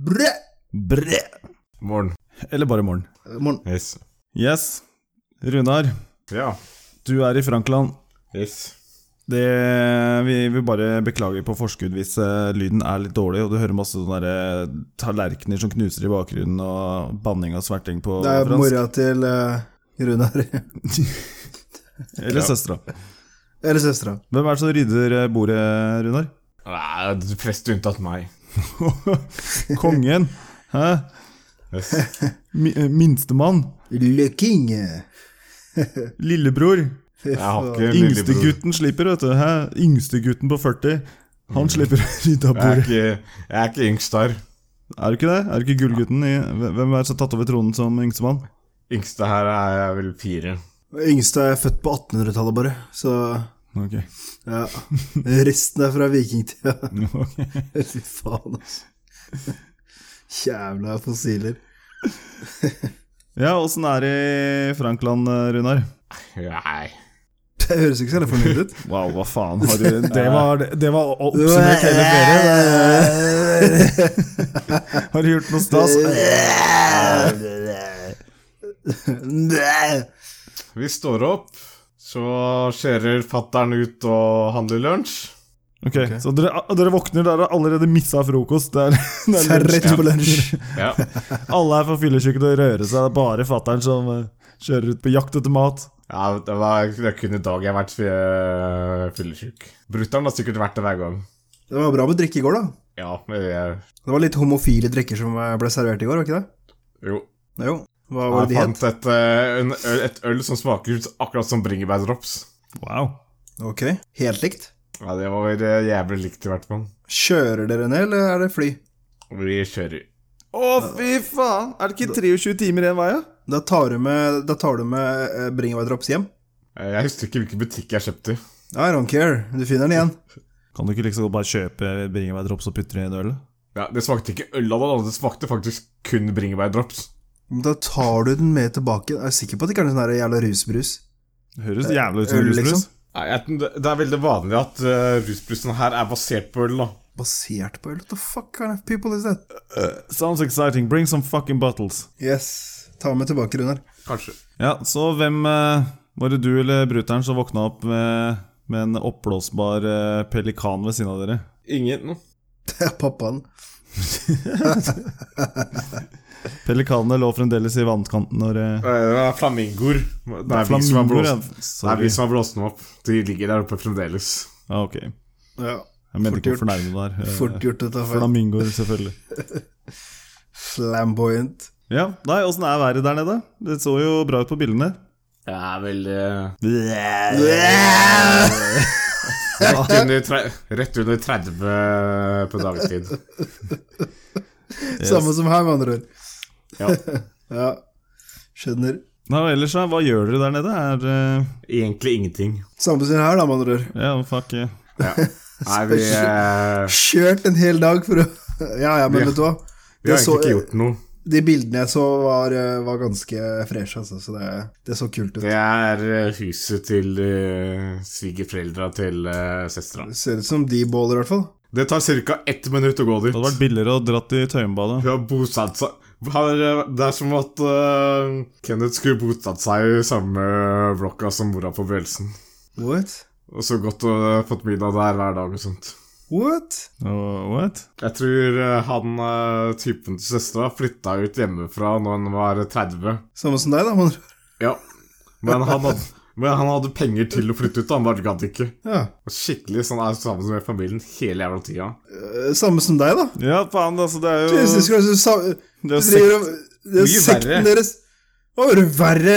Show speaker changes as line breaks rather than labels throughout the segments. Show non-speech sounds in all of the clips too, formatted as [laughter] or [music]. Brø!
Bre.
Morgen.
Eller bare morgen.
Eh, Morgen.
Yes.
Yes. Runar,
Ja.
du er i Frankland.
Yes.
Det, vi vil bare beklage på forskudd hvis eh, lyden er litt dårlig, og du hører masse sånne der, eh, tallerkener som knuser i bakgrunnen, og banning og sverting på
Det er
fransk.
mora til eh, Runar.
Eller
Ja.
søstera.
Eller søstera.
Hvem er det som rydder eh,
[laughs]
bordet, Runar?
Nei, de fleste unntatt meg.
Kongen? Hæ?
Yes.
Mi- eh, Minstemann?
Le King.
Lillebror?
Fy
Jeg har
faen.
ikke en lillebror.
Yngstegutten slipper, vet du. Hæ? Yngstegutten på 40.
Mm.
Han slipper å rydde av
Jeg er
bordet.
ikke, jeg er ikke yngst her.
Er du ikke det? Er du ikke gullgutten? I, hvem er det som har tatt over tronen som yngstemann?
Yngste her er jeg vel fire.
Yngste er født på 1800-tallet, bare. Så
Ok. [laughs]
ja. Resten er fra vikingtida.
Ok.
Fy faen, altså. Jævla fossiler.
Ja, åssen er det i Frankland, eh, Runar?
Nei.
Det høres ikke så jævla fornøyd ut.
Wow, hva faen har du [laughs] Det var, det var å oppsummert hele ferie. [laughs]
Hele
Har du gjort noe stas?
ferie.
Vi står opp, så skjærer fattern ut og handler lunsj.
Ok, Så dere, dere våkner, dere har allerede missa frokost. Det er, [laughs] det
Det
er
er
lunsj.
rett på lunsj. [laughs]
Ja.
Alle er for fyllesyke til å røre seg. Det er bare fatter'n som eh, kjører ut på jakt etter mat.
ja det, var, det er kun i dag jeg har vært uh, fyllesyk. Brutter'n har sikkert vært det hver gang.
Det var bra med drikke i går, da.
Ja, men jeg,
Det var litt homofile drikker som ble servert i går, var ikke det?
jo.
Jo. Hva var
Jeg
det de het?
fant et, eh, en øl, et øl som smaker ut akkurat som bringebærdrops.
Wow.
Ok, helt likt.
Ja, det var eh, jævlig likt i hvert fall.
Kjører dere ned, eller er det fly?
Vi kjører.
Å, fy faen! Er det ikke 23 timer igjen vei, da?
Da tar du med, da tar du med eh, bringebærdrops hjem.
Eh, Jeg husker ikke hvilken butikk jeg kjøpte i.
I don't care, du finner den igjen.
Kan du ikke liksom bare kjøpe bringebærdrops og putte det i en øl?
Ja, det smakte ikke øl av det, da. det smakte faktisk kun bringebærdrops.
Men Da tar du den med tilbake. Jeg er sikker på at det ikke er noe sånn her jævla rusbrus.
Det høres jævlig ut som
Øl,
rusbrus.
liksom?
Nei, jeg, tror det det er veldig vanlig at eh, rusbrusen her er basert på øl, da.
Basert på øl? What the fuck kind of people is that?
Sounds exciting. Bring some fucking bottles.
Yes, ta med tilbake, [laughs] Runar.
Kanskje.
Ja, så hvem eh, Var det du eller bruteren som våkna opp med, med en oppblåsbar eh, pelikan ved siden av dere?
Ingen.
Det er pappaen.
Pelikanene lå fremdeles i vannkanten når eh,
Nei, Det var flamingoer. Det er vi som har
flamingoer, ja.
blåst, det er
Sorry.
vi som har blåst dem opp. De ligger der oppe fremdeles.
Ja, ok. Jeg
Ja,
mente
Fort
ikke å
gjort.
fornærme deg der. Eh,
fort gjort å ta feil.
Flamingoer, selvfølgelig.
Flamboyant.
Ja, nei, åssen er været der nede? Det så jo bra ut på bildene.
Det er eh, veldig
Yeah!
Rett under, tre, rett under 30 på dagtid.
[laughs] Samme som her, med andre ord.
Ja.
Ja, skjønner.
Nei, og ellers, da, hva gjør dere der nede? Er eh,
Egentlig ingenting.
Samme som her, da, med andre ord.
Ja, fuck eh. yeah.
Ja. Nei, vi, eh,
Kjørt en hel dag for å Ja, ja, men
Ja.
vet du hva?
vi har
Det så-
egentlig ikke gjort noe.
De bildene jeg så, var, eh, var ganske freshe, altså, så det, det så kult ut.
Det er eh, huset til uh, svigerforeldra til uh, søstera.
Det ser ut som de båler, i hvert fall.
Det tar ca. ett minutt å gå
Det
dit.
hadde vært billigere å dratt i Tøyenbadet.
Hun har bosatt seg har, eh, Det er som at eh, Kenneth skulle bosatt seg i samme eh, blokka som mora på Bjølsen.
What?
Og så godt å ha fått middag der hver dag og sånt.
What?
Og- what?
Jeg tror eh, han eh, typen til søstera flytta ut hjemmefra når han var 30.
Samme som deg, da. Man.
Ja. Men han hadde, [laughs] men han hadde penger til å flytte ut, han bare gadd ikke.
Ja.
Og Skikkelig sånn er sammen med familien hele jævla tida.
Eh, Samme som deg, da.
Ja, faen, altså, det er jo
Jesus Christ, du sa
Det er
du driver og- Det er
Mye
sekten
verre.
deres. Hva var det verre?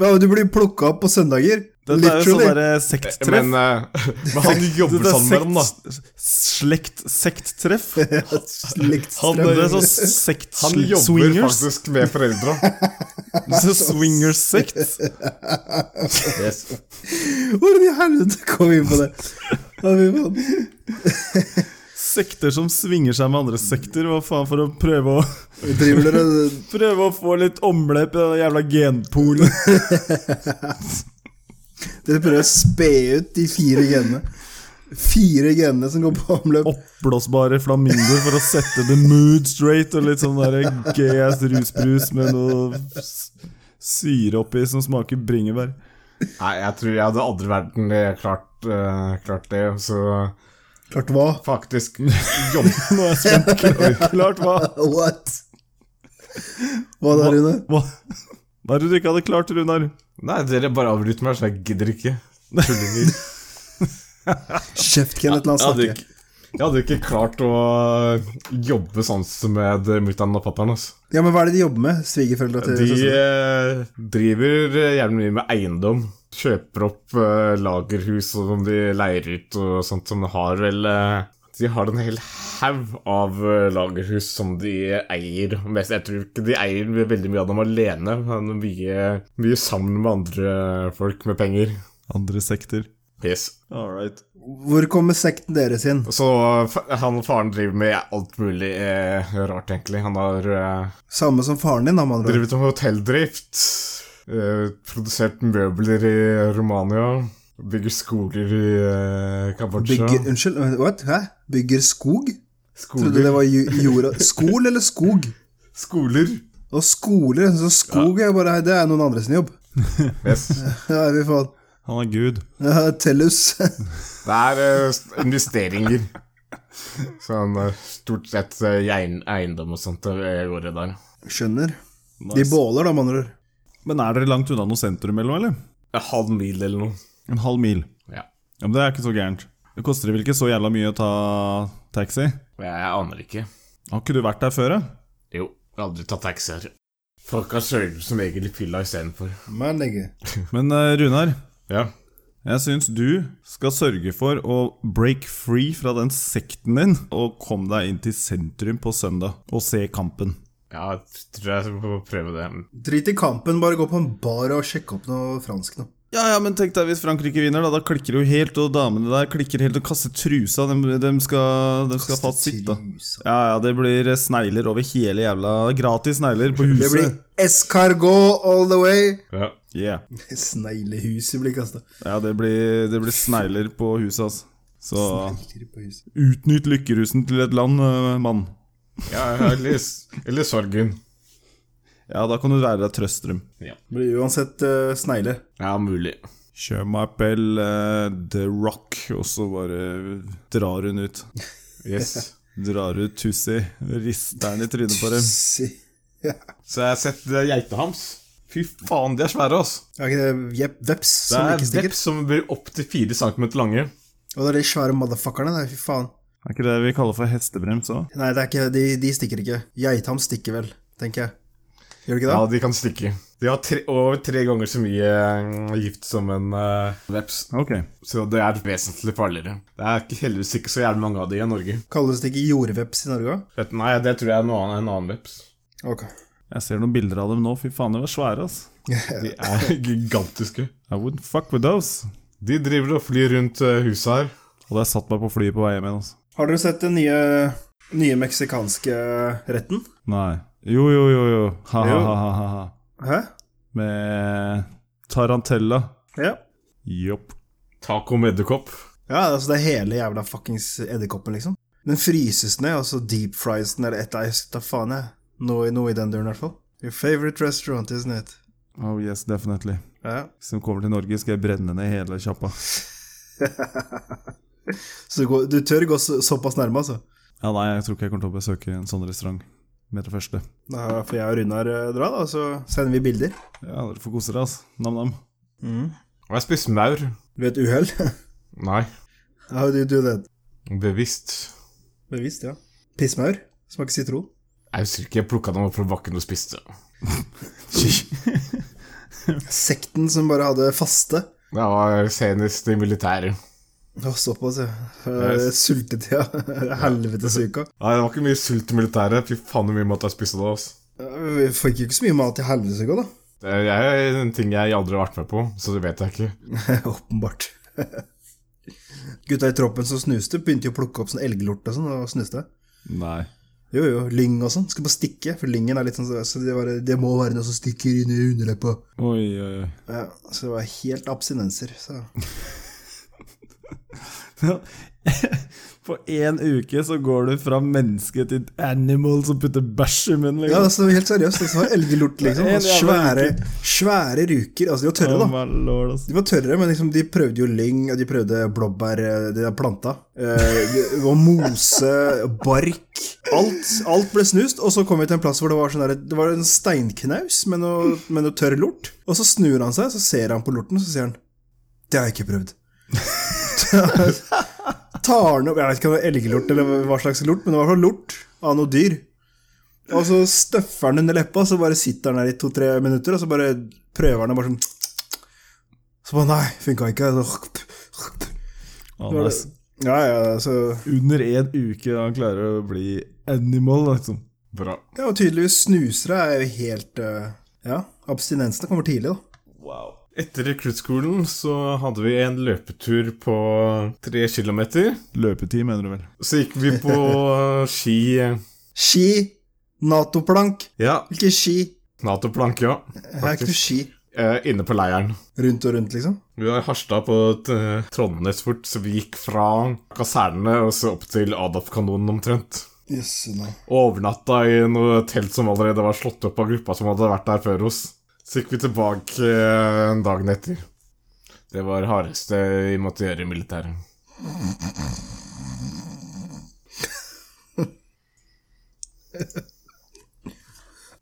Hva, Du blir plukka opp på søndager.
Dette er jo
[laughs]
sånn
Literally.
derre sekttreff.
Men, eh, [laughs] men han jobber
Dette er
sammen med dem, da.
sekt- Slekt-sekttreff.
[laughs]
Han
Slektsstrøm.
det er [laughs] sånn
eh, Han jobber
sekt-swingers.
faktisk med [laughs] foreldra.
[laughs] Så Swingers-sekt.
Hvordan i helvete kom vi inn på det? Ja, fy faen.
Sekter som svinger seg med andre sekter. Hva faen, for å prøve å, [laughs]
Driver dere
prøve å få litt omløp i den jævla
[laughs]
genpolen.
Dere prøver å spe ut de fire genene. fire grenene som går på omløp.
Oppblåsbare flamingoer for å sette the mood straight, og litt sånn der gay-ass rusbrus med noe s- syre oppi som smaker bringebær.
Nei, jeg tror jeg hadde aldri vært den det klart, eh, klart det, så
Klart hva?
faktisk jobb.
Nå er jeg spent. Klart, klart hva?
What? Hva da, Rune?
Hva, hva er det du ikke hadde klart, Runar?
[laughs] Nei, dere bare avbryter meg, så jeg gidder ikke. Tullinger. [laughs]
Kjeft, Kenneth, la han
Jeg hadde
snakke.
ikke, jeg hadde ikke klart å jobbe sånn som med mutter'n og fatter'n. Altså.
Ja, men hva er det de jobber med, svigerforeldra til
De
søsteren?
eh, driver eh, gjerne mye med eiendom. Kjøper opp eh, lagerhus som de leier ut og sånt som de har vel eh, De har en hel haug av eh, lagerhus som de eier. Mest, jeg tror ikke de eier veldig mye av dem alene, men mye, mye sammen med andre folk med penger.
Andre sekter.
Yes.
All right.
Hvor kommer sekten deres inn?
Så fa- han faren driver med alt mulig eh, rart, egentlig. Han har eh,
Samme som faren din, da, med andre ord.
Drevet om hotelldrift. eh, Produsert møbler i Romania. Bygger skoger i eh, Kambodsja.
Bygger, unnskyld, eh, what? Hæ? Bygger skog? Trodde
skoler.
det var ju- jorda Skol eller skog?
skoler.
Og skoler, så skog er bare Det er noen andre sin jobb. [laughs]
Yes.
Ja, vi får
Han er gud.
ja, Tellus.
Det er eh, st- investeringer. Sånn eh, stort sett eh, i eign- eiendom og sånt eh, går det der.
[laughs] Skjønner. De båler, da, med andre ord.
Men er dere langt unna noe sentrum eller noe, eller?
En halv mil eller noe.
En halv mil.
Ja.
Ja, men det er ikke så gærent. Det koster vel ikke så jævla mye å ta taxi?
Jeg aner ikke.
Har ikke du vært der før, da?
Jo, aldri tatt taxi her. Folk har sørget som egentlig fylla istedenfor.
Men lenge.
Men eh, Runar,
Ja.
jeg syns du skal sørge for å break free fra den sekten din og komme deg inn til sentrum på søndag og se kampen.
ja, jeg tror jeg får prøve det.
Drit i kampen, bare gå på en bar og sjekke opp noe fransk nå.
Ja, ja, men tenk deg hvis Frankrike vinner, da. Da klikker det jo helt, og damene der klikker helt og kaster trusa. De, skal, dem skal fatt sitte.
Trusa.
Ja, ja, det blir snegler over hele jævla Gratis snegler på huset.
Det blir escargot all the way.
Ja.
Yeah.
[laughs] Sneglehuset blir kasta.
Ja, det blir, det blir snegler på huset, altså. Så utnytt lykkerusen til et land, eh, mann.
Ja, eller, eller sorgen.
Ja, da kan du være deg Trøstrum.
Ja.
Blir uansett uh, snegle.
mulig.
Kjør meg appell, eh, The Rock, og så bare drar hun ut.
Yes.
Drar ut Tussi, rister den i trynet på dem.
Si- [laughs] Ja.
[laughs] Så jeg har sett eh, geita hans. Fy faen, de er svære, ass.
Er ikke det jep, veps
Det
som
er
ikke stikker?
veps som blir opptil fire centimeter lange.
Og det er de svære motherfuckerne, nei, fy faen.
Er ikke det vi kaller for hestebrems òg?
Nei, det er ikke, de, de stikker ikke. Geitam stikker vel, tenker jeg. Gjør de ikke det?
Ja, de kan stikke. De har tre, over tre ganger så mye eh, gift som en eh, veps,
Ok.
så det er vesentlig farligere. Det er ikke, heldigvis ikke så jævlig mange av de i Norge.
Kalles det ikke jordveps i Norge òg?
Vet du, Nei, det tror jeg er noe annet, en annen veps.
Ok.
Jeg ser noen bilder av dem nå, fy faen, de var svære, ass.
De er [laughs] gigantiske.
I wouldn't fuck with those.
De driver og flyr rundt eh, huset her.
Hadde jeg satt meg på flyet på vei hjem igjen, altså.
Har dere sett den nye, nye meksikanske retten?
Nei. Jo, jo, jo, jo.
Jo.
Ha-ha-ha.
Hæ?
Med tarantella.
Ja.
Jopp.
Taco med edderkopp.
Ja, altså det er hele jævla fuckings edderkoppen, liksom. Den fryses ned, og så deep fries den, eller et av da faen jeg. Noe, noe i den duren, i hvert fall. Your favorite restaurant, isn't it?
Oh yes, definitely.
Ja.
Hvis de kommer til Norge, skal jeg brenne ned hele kjappa.
Så du, går, du tør gå så, såpass nærme, altså?
Ja, nei, jeg tror ikke jeg kommer til å besøke en sånn restaurant med det første.
Da får jeg og Runar eh, dra, da, så sender vi bilder.
Ja, dere får kose dere, altså. Nam-nam.
Og jeg spiser maur.
Ved et uhell? [laughs]
Nei,
How do you do that?
bevisst.
Bevisst, ja. Pissmaur. Smaker [laughs] sitron.
Jeg husker ikke jeg plukka dem opp fra bakken og spiste.
Sekten som bare hadde faste.
Det var senest i militæret.
Å, såpass, ja. Eh,
Yes.
Sultetida. [laughs] Helvetesuka.
Nei, Det var ikke mye sult i militæret. Fy faen hvor mye mat jeg spiste da. ass.
Eh, Vi fikk jo ikke så mye mat i helvetesuka, da.
Det er jeg- en ting jeg aldri har vært med på, så det vet jeg ikke.
[laughs] Åpenbart. Gutta i troppen som snuste, begynte jo å plukke opp sånn elglort og sånn, og snuste.
Nei.
Jo, jo, lyng og sånn. Skal bare stikke, for lyngen er litt sånn så- Så det, var, det må være noe som stikker inn i underleppa.
Oi, oi, oi. [laughs]
Ja, så det var helt abstinenser, så
På én uke så går du fra menneske til animal som putter bæsj i munnen.
Ja,
Liksom.
altså Helt seriøst. Det var elgelort, liksom.
Det er en
Altså,
jævla
svære, svære ruker. Altså, de var tørre, da.
Oh my lord, ass.
De var tørre, men liksom, de prøvde jo lyng, og de prøvde blåbær, eh, de der planta. Eh, det var mose, bark Alt, alt ble snust, og så kom vi til en plass hvor det var, sånn der, det var en steinknaus med noe, med noe tørr lort. Og så snur han seg, så ser han på lorten, så sier han Det har jeg ikke prøvd. [laughs] Tar han opp Jeg vet ikke om det var elgelort eller hva slags lort, men det var i hvert fall lort av noe dyr. Og så støffer han under leppa, så bare sitter han der i to-tre minutter, og så bare prøver han og bare sånn Så bare Nei, funka ikke. Så,
Han er s-
ja, ja, altså, så
Under én uke han klarer å bli animal, liksom.
Bra.
Ja, og tydeligvis snusere er jo helt eh, Ja, abstinensene kommer tidlig, da.
Etter rekruttskolen så hadde vi en løpetur på tre kilometer.
Løpetid, mener du vel?
Så gikk vi [laughs] på ski
Ski! Nato-plank!
Ja,
Hvilke ski?
Nato-plank, ja.
Jeg har ikke noe ski.
Eh, inne på leiren.
Rundt og rundt, liksom.
Vi var i Harstad på et, eh, Trondheim fort, så vi gikk fra kasernene og så opp til Adaf-kanonen omtrent.
Jøsse, nei.
Og overnatta i noe telt som allerede var slått opp av gruppa som hadde vært der før oss. Så gikk vi tilbake eh, dagen etter. Det var det hardeste vi måtte gjøre i militæret.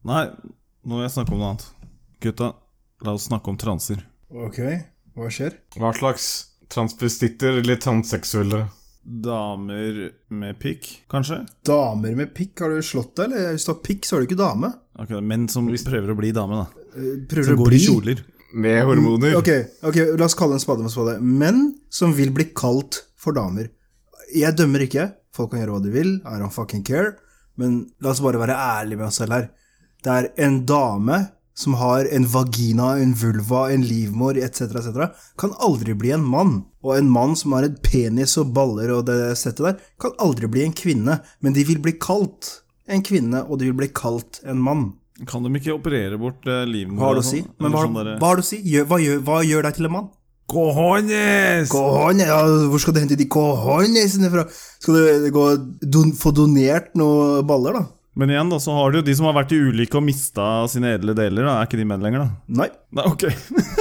Nei, nå vil jeg snakke om noe annet. Gutta, la oss snakke om transer.
Ok, hva skjer?
Hva slags transvestitter eller transseksuelle?
Damer med pikk, kanskje?
Damer med pikk, har du slått deg, eller? Hvis du har pikk, så har du ikke dame.
Ok, Menn som prøver å bli dame, da.
Eh, Prøver
Som
å
går i
bli
kjoler.
Med hormoner.
Ok, ok, la oss kalle en spade med spade. Menn som vil bli kalt for damer. Jeg dømmer ikke. Folk kan gjøre hva de vil. I don't fucking care. Men la oss bare være ærlige med oss selv her. Det er en dame som har en vagina, en vulva, en livmor etc., etc., kan aldri bli en mann. Og en mann som har en penis og baller og det settet der, kan aldri bli en kvinne. Men de vil bli kalt en kvinne, og de vil bli kalt en mann.
Kan de ikke operere bort uh, livmora?
Hva har det å si? Men hva,
sånn
hva har det å si? Gjør, hva, gjør, hva gjør deg til en mann?
Cojones!
Cojones, ja, hvor skal du hente de cojonesene fra? Skal du gå, don, få donert noen baller, da?
Men igjen, da, så har du jo de som har vært i ulykke og mista sine edle deler. da Er ikke de menn lenger, da?
Nei.
Nei, ok.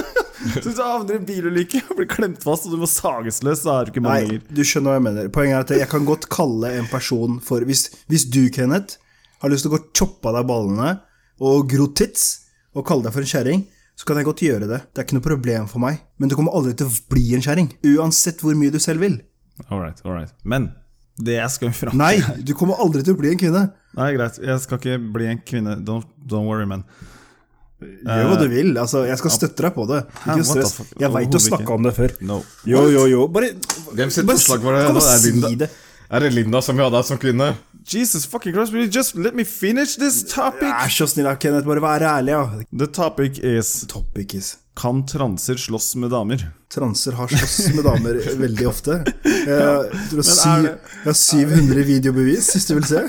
[laughs] så hvis du havner i en bilulykke og blir klemt fast og du må sages løs, så er du ikke mann
Nei,
lenger.
du skjønner hva jeg mener. Poenget er at jeg kan godt kalle en person for Hvis, hvis du, Kenneth, har lyst til å gå og choppe av deg ballene og gro tits og kalle deg for en kjerring, så kan jeg godt gjøre det. Det er ikke noe problem for meg. Men du kommer aldri til å bli en kjerring. Uansett hvor mye du selv vil.
All right, all right. Men det jeg skal fram
Nei, du kommer aldri til å bli en kvinne.
Nei, greit. Jeg skal ikke bli en kvinne. Don't, don't worry, man.
Gjør hva du vil. Altså, jeg skal støtte deg på det.
Hæ, Eh, what
Ikke stress.
the fuck?
Jeg veit du
Overhodet ikke.
snakka om det før.
No.
Jo, jo, jo. Bare
Hvem sitt
Bare
forslag var det?
Kan
Nå
du
er, det
si
Linda.
det?
er det Linda som vi hadde her som kvinne?
Jesus fucking Christ, will you just let me finish this topic?
Vær så snill, da, Kenneth. Bare vær ærlig, ja.
The topic is
Toppikis.
Kan transer slåss med damer?
Transer har slåss med damer veldig ofte. Jeg tror jeg
er
syv-
det-
jeg har 700 videobevis, hvis du vil se.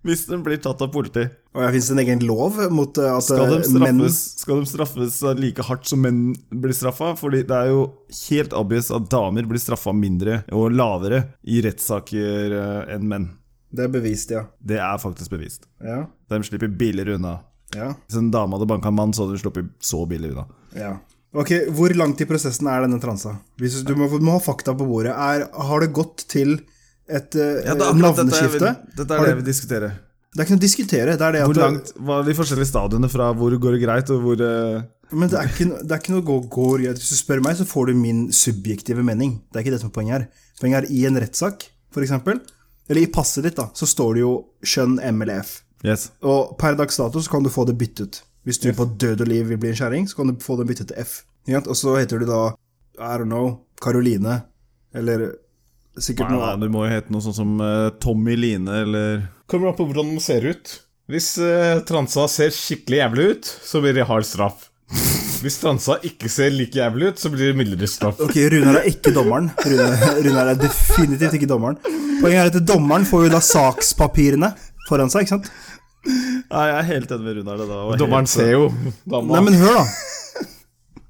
Hvis den blir tatt av politi,
Og her finnes det en egen lov mot eh, at
skal de
eh, menn
straffes, skal de straffes like hardt som menn blir straffa? Fordi det er jo helt obvious at damer blir straffa mindre og lavere i rettssaker eh, enn menn.
Det er bevist, ja.
Det er faktisk bevist.
Ja.
De slipper billigere unna.
Ja.
Hvis en dame hadde banka en mann, så hadde hun sluppet så billig unna.
ja. Ok, Hvor langt i prosessen er denne transa? Hvis du må, du må ha fakta på bordet. Er, har det gått til et eh,
Ja, det er akkurat dette jeg vil-
navneskifte?
Dette
Har
er det
det-
jeg vil diskutere.
Det er ikke noe å diskutere. Det er det at
Hvor langt var de forskjellige stadiene fra hvor går det greit, og hvor eh,
Men det er ikke, det er ikke noe gå- går greit. Hvis du spør meg, så får du min subjektive mening. Det er ikke det som er poenget her. Poenget er i en rettssak, f.eks., eller i passet ditt, da, så står det jo skjønn M eller F.
Yes.
Og per dags dato så kan du få det byttet. Hvis du på død og liv vil bli en kjerring, så kan du få det byttet til F. Ikke sant? Og så heter du da, I don't know, Karoline, eller sikkert
Nei,
noe
nei,
annet.
du må jo hete noe sånt som eh, Tommy Line, eller
Kommer an på hvordan de ser ut. Hvis eh, transa ser skikkelig jævlig ut, så blir det hard straff. Hvis transa ikke ser like jævlig ut, så blir det mildere straff.
Ok, Runar er ikke dommeren. Runar, Runar er definitivt ikke dommeren. Poenget er at dommeren får jo da sakspapirene foran seg, ikke sant?
Nei, jeg er helt enig med Runar. det da var helt-
Dommeren ser jo dama.
Nei, men hør, da.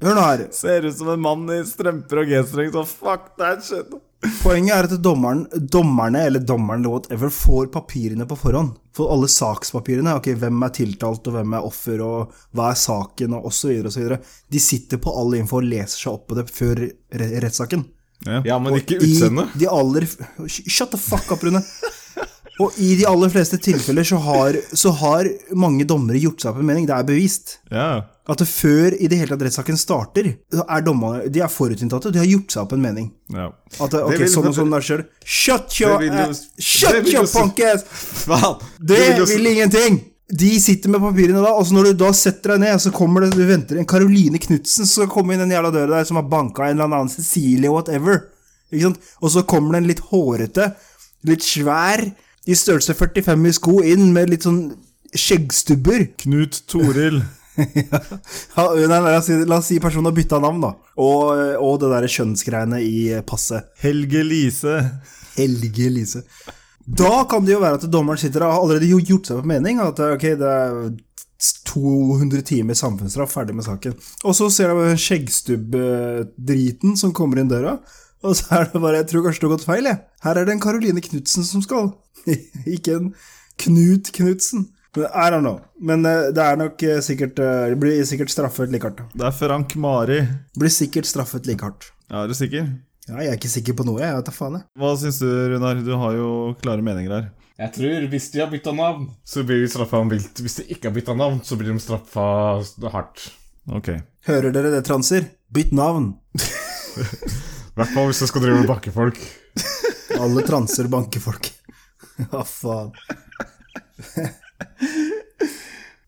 Hør nå her.
Ser ut som en mann i strømper og G-streng. Så fuck that shit.
Poenget er at dommeren, dommerne eller dommeren eller whatever får papirene på forhånd. For alle sakspapirene. ok, Hvem er tiltalt, og hvem er offer, og hva er saken, og osv. osv. De sitter på all info og leser seg opp på det før re rettssaken.
Ja, men ikke
I
utseendet.
de aller f- Shut the fuck up, Rune. Og i de aller fleste tilfeller så har, så har mange dommere gjort seg opp en mening. Det er bevist.
Ja.
At det før i det hele tatt rettssaken starter, så er dommerne de er forutinntatte, og de har gjort seg opp en mening.
ja.
At det, ok,
vil-
sånn og sånn der skjer. Shut your
vil jo-
ass! Shut
det vil jo
your
si-
punk ass!
Faen!
Det vil ingenting! De sitter med papirene da, og så når du da setter deg ned, så kommer det, du venter en Caroline Knutsen som skal komme inn den jævla døra der, som har banka en eller annen Cecilie, whatever. Ikke sant? Og så kommer det en litt hårete, litt svær, i størrelse 45 i sko, inn med litt sånn skjeggstubber.
Knut Toril.
Ja, [laughs] nei, nei, la, oss si, la oss si personen har bytta navn, da. Og, og det derre kjønnsgreiene i passet.
Helge Lise.
Helge Elise. Da kan det jo være at dommeren sitter og har allerede jo gjort seg opp en mening. At eh, ok, det er 200 timer samfunnsstraff, ferdig med saken. Og så ser du den skjeggstubb-driten som kommer inn døra. Og så er det bare Jeg tror kanskje du har gått feil, jeg. Her er det en Karoline Knutsen som skal. [laughs] Ikke en Knut Knutsen. Men I don't know. Men eh, det er nok eh, sikkert eh, Det blir sikkert straffet like hardt. da.
Det er Frank Mari.
Det Blir sikkert straffet like hardt.
Ja, er du sikker?
Ja, jeg er ikke sikker på noe, jeg. Jeg vet da faen, jeg.
Hva syns du, Runar? Du har jo klare meninger her.
[laughs] Jeg tror hvis de har bytta navn, så blir de straffa vilt. Hvis de ikke har bytta navn, så blir de straffa hardt.
Ok.
Hører dere det, transer? Bytt navn.
I hvert fall hvis du skal drive og banke folk.
Alle transer banker folk. [laughs] Hva faen.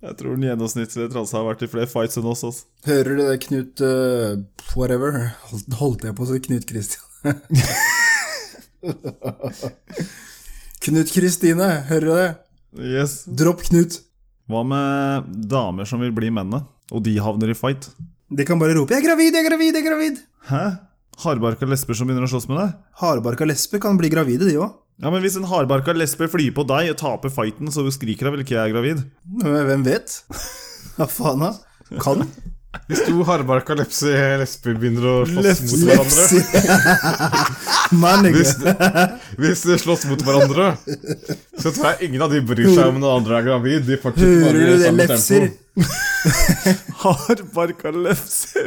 Jeg tror den gjennomsnittlige transa har vært i flere fights enn oss. Altså.
Hører du det, Knut eh, Whatever? Holdt, holdt jeg på å si Knut Kristian? [laughs] Knut Kristine, hører du det?
Yes.
Dropp Knut.
Hva med damer som vil bli mennene, og de havner i fight?
De kan bare rope 'jeg er gravid, jeg er gravid', jeg er gravid.
Hæ? Hardbarka lesber som begynner å slåss med deg?
Hardbarka lesber kan bli gravide, de òg.
Ja, men Hvis en hardbarka lesber flyer på deg og taper fighten, så skriker hun vel ikke 'jeg er gravid'?
Hvem vet? [laughs] Hva faen, da? Kan?
Hvis to hardbarka lepse, lesber begynner å slåss mot
[laughs]
hverandre
Lepsi. Nei,
hvis,
nigga.
hvis de slåss mot hverandre, så tror jeg ingen av de bryr seg om den andre er gravid. De fortsetter
Hører du
bare i
det,
samme
lefser?
tempo.
Hardbarka lefser.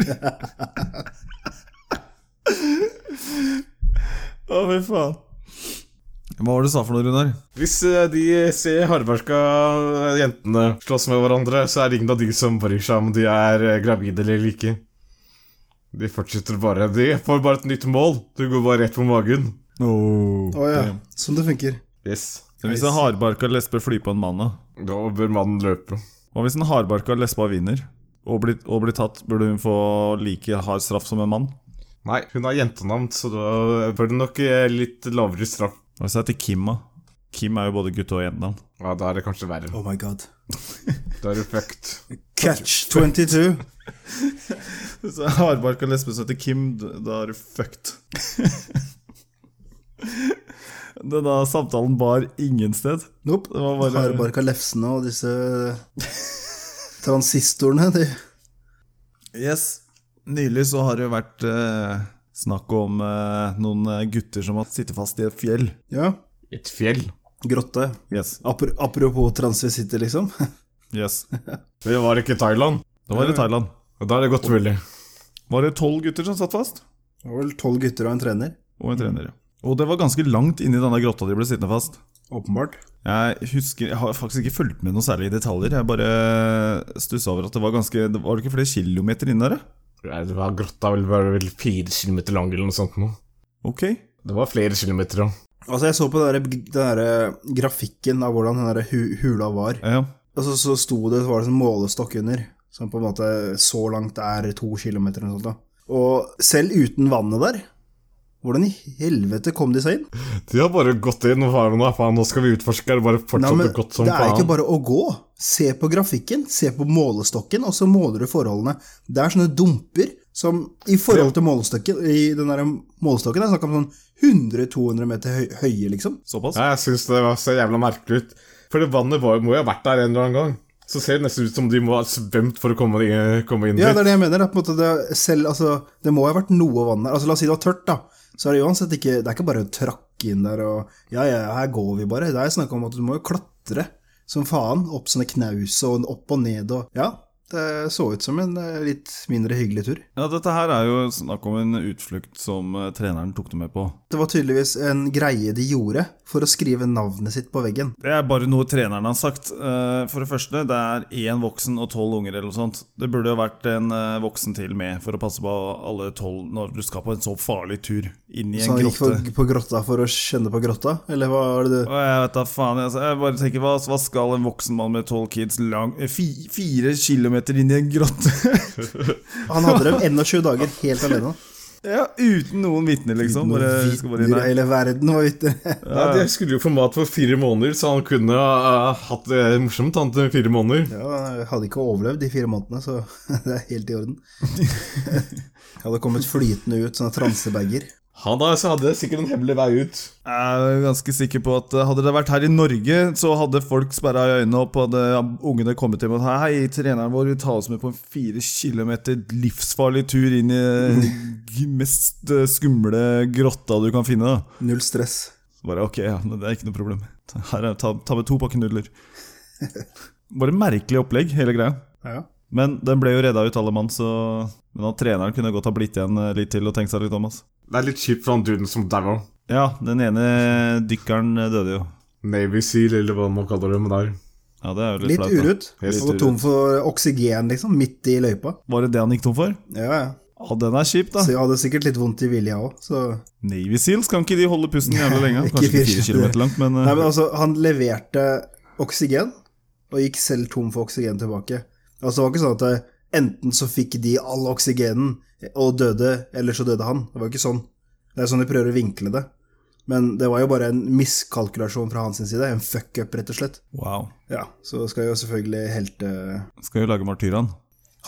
[laughs] Å, fy faen. Hva var det du sa for noe, Runar?
Hvis eh, de ser hardbarka jentene slåss med hverandre, så er det ingen av de som bryr seg om de er eh, gravide eller ikke. De fortsetter bare. De får bare et nytt mål. Du går bare rett på magen.
Å ja. Sånn det funker.
Yes.
Men Hvis en hardbarka lesbe flyr på en mann, da?
Da bør mannen løpe.
Hva hvis en hardbarka lesba vinner og blir, og blir tatt? Burde hun få like hard straff som en mann?
Nei, hun har jentenavn, så da bør det nok eh, litt lavere straff.
Hva hvis jeg heter Kim, da? Kim er jo både gutte- og [laughs] jentenavn.
Ja, da er det kanskje verre.
Oh my god.
Da er det fucked.
Catch 22.
Hvis jeg er hardbarka lesbe som heter Kim, d- da er du fucked. [laughs] Denne samtalen bar ingen sted.
Nope.
Det var bare
Hardbarka lefsene og disse transistorene, de
Yes. Nylig så har det jo vært eh, snakk om eh, noen eh, gutter som har sittet fast i et fjell.
Ja.
Et fjell.
Grotte.
Yes.
Apro apropos transvisitter, liksom. [laughs]
yes. Det
Det var ikke Thailand.
var i Thailand.
Og da er det godt mulig.
Var det tolv gutter som satt fast?
Det var vel tolv gutter og en trener.
og en trener. Og det var ganske langt inn i denne grotta de ble sittende fast.
Åpenbart.
Jeg husker, jeg har faktisk ikke fulgt med noe særlig i detaljer. Jeg bare stussa over at det var ganske det Var det ikke flere kilometer inn der? da?
Nei, det var grotta vel bare vel fire kilometer lang eller noe sånt nå.
Ok.
Det var flere kilometer, ja.
Altså, jeg så på den der, den der grafikken av hvordan den der hu hula var.
Ja, ja.
Altså, så sto det, så var det en målestokk under, som på en måte så langt er to kilometer eller noe sånt. da. Og selv uten vannet der, hvordan i helvete kom de seg inn?
De har bare gått inn og faen, nå, faen, nå skal vi utforske. Er det bare fortsatt
Nei, men
godt som
det er
faen?
ikke bare å gå. Se på grafikken, se på målestokken, og så måler du forholdene. Det er sånne dumper som i forhold til målestokken I den der målestokken er det snakk om sånn 100-200 meter høy, høye, liksom.
Såpass?
Ja, jeg syns det var så jævla merkelig ut. For det vannet var, må jo ha vært der en eller annen gang. Så ser det nesten ut som de må ha svømt for å komme, i- komme inn
Ja,
dit.
det er det jeg mener. Det, er på en måte det, selv, altså, det må ha vært noe vann der. Altså, la oss si det var tørt, da. Så er det uansett ikke Det er ikke bare å trakke inn der og Ja, ja, her går vi bare. Det er snakk om at du må jo klatre som faen. Opp sånne knaus og opp og ned og Ja. Det så ut som en eh, litt mindre hyggelig tur.
Ja, dette her er jo snakk om en utflukt som eh, treneren tok det med på.
Det var tydeligvis en greie de gjorde for å skrive navnet sitt på veggen.
Det er bare noe treneren har sagt. Eh, For det første, det er én voksen og tolv unger eller noe sånt. Det burde jo vært en eh, voksen til med for å passe på alle tolv når du skal på en så farlig tur inn i
Så
en
han gikk
grotte.
for, på grotta for å kjenne på grotta, eller hva er det du
Og jeg vet da faen, jeg, altså, jeg bare tenker hva, hva skal en voksen mann med tolv kids lang, eh, fi, fire kilometer inn i en grotte? [laughs]
Han hadde dem 21 dager helt alene.
ja, Uten noen vitner, liksom. Bare, skal bare inn
Vitner i
der.
hele verden var vitner.
Ja, de skulle jo få mat for fire måneder, så han kunne ha hatt det morsomt han til fire måneder.
[laughs] Ja, jeg hadde ikke overlevd de fire månedene, så [laughs] det er helt i orden. Jeg hadde kommet flytende ut, sånne transebager.
Han da, så hadde sikkert en hemmelig vei ut.
Jeg er ganske sikker på at eh, hadde det vært her i Norge, så hadde folk sperra øynene opp, og hadde ungene kommet hjem og sagt Hei, treneren vår vil ta oss med på en fire kilometer livsfarlig tur inn i den mest eh, skumle grotta du kan finne. da.
Null stress.
Så bare ok, ja, men det er ikke noe problem. Ta- Her er, ta, ta med to pakker nudler. Bare merkelig opplegg, hele greia.
Ja.
Men den ble jo redda ut, alle mann, så Men at treneren kunne godt ha blitt igjen eh, litt til og tenkt seg litt om, altså.
Det er litt kjipt for han duden som daua.
Ja, den ene dykkeren eh, døde jo.
Navy Seal, eller hva man kaller dem der.
Ja, det er jo litt,
Litt
flaut, da.
urut.
Helt
Og tom for oksygen, liksom, midt i løypa.
Var det det han gikk tom for?
Ja, ja.
Ja, den er kjip, da.
Så jeg hadde sikkert litt vondt i vilja òg, så
Navy Seals, kan ikke de holde pusten [laughs] jævlig lenge?
Ikke
Kanskje ikke fire
fire.
kilometer langt, men
Nei,
eh,
men altså, han leverte oksygen, og gikk selv tom for oksygen tilbake. Altså, det var ikke sånn at eh, enten så fikk de all oksygenen og døde, eller så døde han. Det var ikke sånn. Det er sånn de prøver å vinkle det. Men det var jo bare en miskalkulasjon fra hans side, en fuck-up, rett og slett.
wow.
Ja, så skal jo selvfølgelig helt... eh,
Skal jo lage martyrene.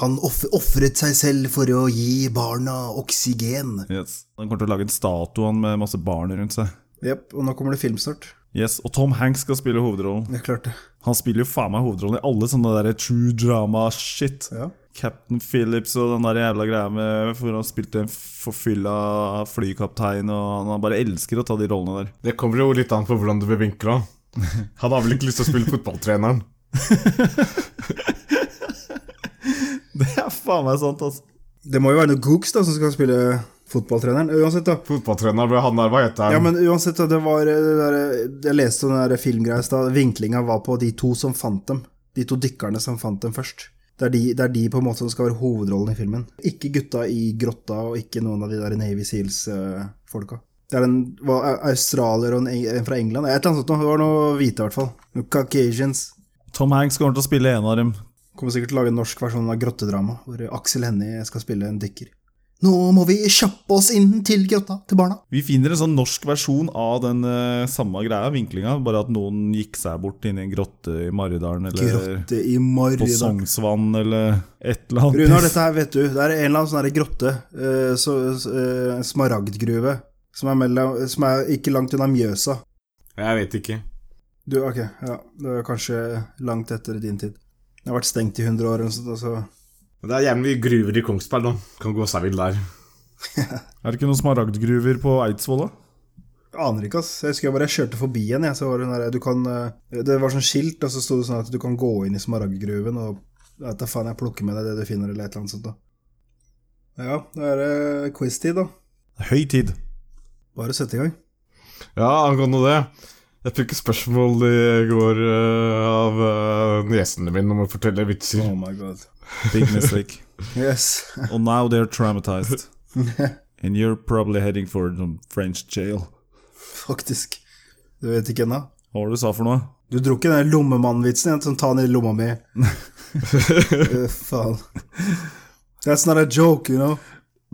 Han off- offret seg selv for å gi barna oksygen.
Yes. Han kommer til å lage en statue han med masse barn rundt seg.
Jep, og nå kommer det film snart.
Yes, Og Tom Hanks skal spille hovedrollen.
Det er klart det.
Han spiller jo faen meg hovedrollen i alle sånne der true drama-shit.
Ja.
Captain Phillips og den der jævla greia med hvor han spilte en forfylla flykaptein, og han- han bare elsker å ta de rollene der.
Det kommer jo litt an på hvordan du blir vinkla. Han har vel ikke lyst til å spille fotballtreneren.
[laughs] Det er faen meg sant, altså.
Det må jo være noen gooks da, som skal spille fotballtreneren. Uansett da,
Fotballtreneren, hva han der, hva heter han?
Ja, men uansett, da, det var eh, det der, Jeg leste om den der filmgreia i stad. Vinklinga var på de to som fant dem. De to dykkerne som fant dem først. Det er, de, det er de på en måte som skal være hovedrollen i filmen. Ikke gutta i grotta, og ikke noen av de der Navy Seals-folka. det er en var au- australier og en, eng- en fra England. Et eller annet sånt noe. Det var noe hvite, i hvert fall. Noen Caucasians.
Tom Hanks kommer til å spille en av dem.
Kommer sikkert til å lage en norsk versjon av Grottedrama, hvor Aksel Hennie skal spille en dykker. Nå må vi kjappe oss inn til grotta, til barna.
Vi finner en sånn norsk versjon av den eh, samme greia, vinklinga, bare at noen gikk seg bort inni en grotte i Maridalen eller
Grotte i
på
Marida.
Sognsvann eller et eller annet.
Runar, dette her vet du. Det er en eller annen sånn her grotte. eh, så, eh, smaragdgruve. Som er, mellom, som er ikke langt unna Mjøsa.
Jeg vet ikke.
Du, ok, ja. Det er kanskje langt etter din tid. Det har vært stengt i 100 år. eller noe sånt, Altså.
Men Det er gjerne mye gruver i Kongsberg, da. Kan gå seg vill der.
Er det ikke noen smaragdgruver på Eidsvoll, da?
Jeg Aner ikke, ass. Jeg husker jeg bare kjørte forbi en, jeg. Så var det, den der, du kan, eh, det var sånn skilt, og så sto det sånn at du kan gå inn i smaragdgruven og jeg vet da faen, jeg plukker med deg det du finner, eller et eller annet sånt. da. Ja, da er det quiz-tid, da.
Høy tid.
Bare å sette i gang.
Ja, angående det. Jeg fikk et spørsmål i går eh, av eh, niesene mine om å fortelle vitser.
Oh my god.
Big
[laughs]
mistake.
Yes.
And now they're traumatized. And you're probably heading for some French jail.
Faktisk. Du vet ikke ennå.
Hva var det du sa for noe?
Du dro ikke den lommemannvitsen igjen, sånn ta den i lomma mi. Eh, faen. That's not a joke, you know.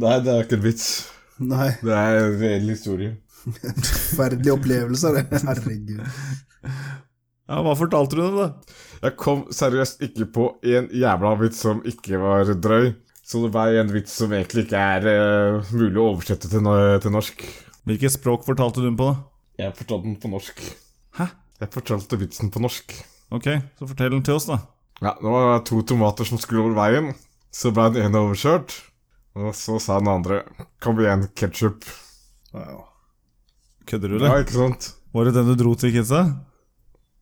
Nei, det er ikke en vits.
Nei,
Det er en reell historie.
forferdelig opplevelse er det. [laughs] Herregud.
Ja, Hva fortalte du dem, da?
Jeg kom seriøst ikke på en jævla vits som ikke var drøy. Så det var en vits som egentlig ikke er eh, mulig å oversette til, no- til norsk.
Hvilket språk fortalte du dem på, da?
Jeg fortalte den på norsk.
Hæ?
Jeg fortalte vitsen på norsk.
Ok, så fortell den til oss, da.
Ja, det var to tomater som skulle over veien. Så ble den ene overkjørt. Og så sa den andre Kom igjen, ketsjup.
Kødder du,
Ja,
eller?
ikke sant?
Var det den du dro til kidsa?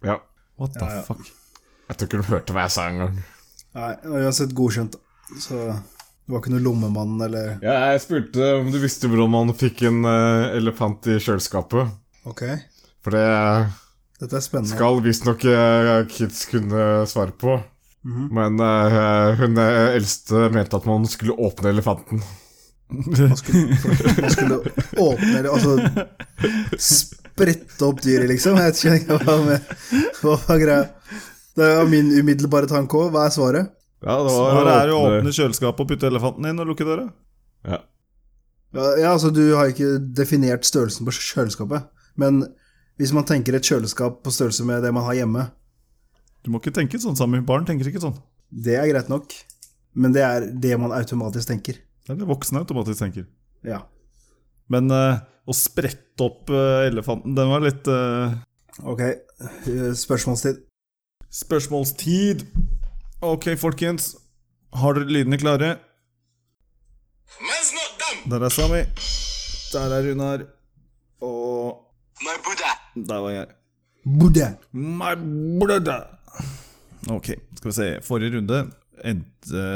Ja.
What the
Ja, ja.
fuck?
Jeg tror ikke hun hørte hva jeg sa engang.
Nei, og uansett godkjent. Så det var ikke noe lommemann eller
Ja, jeg spurte om du visste hvordan man fikk en eh, elefant i kjøleskapet.
Ok,
For det
dette er spennende.
skal visstnok eh, kids kunne svare på.
Mhm.
Men eh, hun eh, eldste mente at man skulle åpne elefanten.
Man skulle, man skulle åpne eller altså sprette opp dyret, liksom. Jeg vet ikke hva med Hva var greia? Det var min umiddelbare tanke òg. Hva er svaret?
Ja, det
Svaret er å åpne kjøleskapet og putte elefanten inn og lukke døra.
Ja.
Ja, ja, altså Du har ikke definert størrelsen på kjøleskapet. Men hvis man tenker et kjøleskap på størrelse med det man har hjemme,
Du må ikke tenke sånn, Sami. Barn tenker ikke sånn.
det er greit nok. Men det er det man automatisk tenker.
Det er det voksne automatisk tenker.
Ja.
Men eh, å sprette opp eh, elefanten, den var litt eh,
Ok, eh, spørsmålstid.
Spørsmålstid. Ok, folkens. Har dere lydene klare?
Man's not dumb.
Der er Sami. Der er Runar. Og
My Buddha.
der var jeg.
Bodde.
My brother. Ok, skal vi se. Forrige runde endte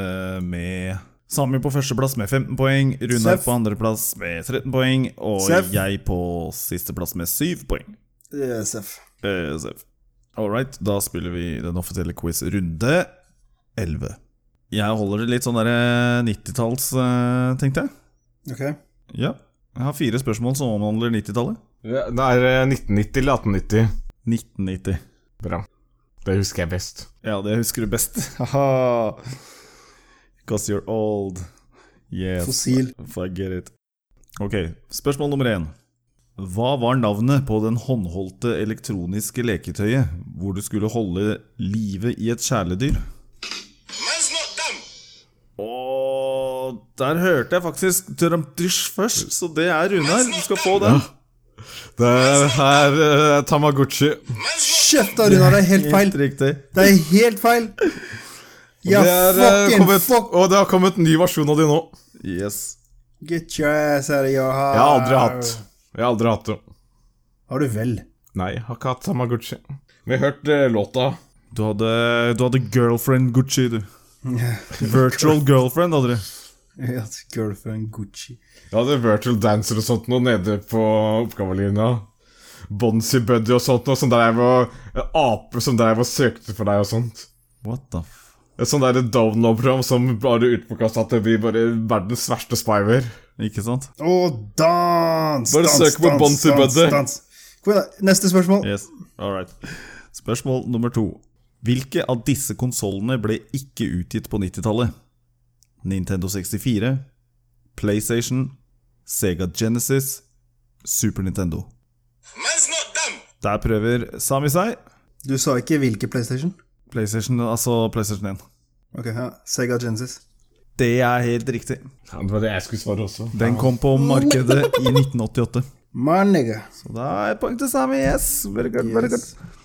med Sami på førsteplass med 15 poeng, Runar
Seff.
på andreplass med 13 poeng og
Seff.
jeg på sisteplass med 7 poeng.
SF.
Eh, Seff. All right, da spiller vi den offisielle quiz runde 11. Jeg holder det litt sånn derre 90-talls, eh, tenkte jeg.
Ok.
Ja. Jeg har fire spørsmål som omhandler 90-tallet.
Ja, Det er eh, 1990 eller 1890.
1990.
Bra. Det husker jeg best.
Ja, det husker du best. [laughs] Haha. Because you're old. Yes.
Fossil.
If I get it. Ok, spørsmål nummer én. Hva var navnet på den håndholdte elektroniske leketøyet hvor du skulle holde livet i et kjæledyr?
Man's not dumb.
Og der hørte jeg faktisk Trump-dysj først, så det er Runar. Du skal få den.
Det er eh, Tamagotchi.
Kjeft, Runar, det er helt feil!
Helt riktig.
Det er helt feil! Ja,
det er, eh,
fucking
kommet,
fuck!
Og det har kommet en ny versjon av de nå.
Yes.
Get your ass out of your house.
Jeg har aldri hatt. Jeg har aldri hatt det.
Har du vel?
Nei, jeg har ikke hatt Tamagotchi. Vi har hørt eh, låta.
Du hadde, du hadde girlfriend Gucci, du. Virtual girlfriend hadde du.
Jeg har hatt Girlfriend Gucci.
Jeg hadde Virtual Dancer og sånt noe nede på oppgavelinja. Bonsi Buddy og sånt noe, som dreiv og en ape som dreiv og søkte for deg og sånt.
What the f...
Et sånt der download-program som bare utpåkasta at det blir bare verdens verste spyware.
Ikke sant?
Å, dans!
Bare
dans,
søk på
dans,
Bonsi
dans,
Buddy.
dans. Kom igjen, da. Neste spørsmål.
Yes, all right. Spørsmål nummer to. Hvilke av disse konsollene ble ikke utgitt på 90-tallet? Nintendo 64, PlayStation, Sega Genesis, Super Nintendo.
Man's not dumb.
Der prøver Sami seg.
Du sa ikke hvilke PlayStation?
PlayStation, altså PlayStation 1.
Ok, ja. Sega Genesis.
Det er helt riktig.
Ja, det var det jeg skulle svare også.
Den kom på markedet i 1988.
My nigga.
Så da er et poeng til Sami. Yes! Very good, very good.
Yes.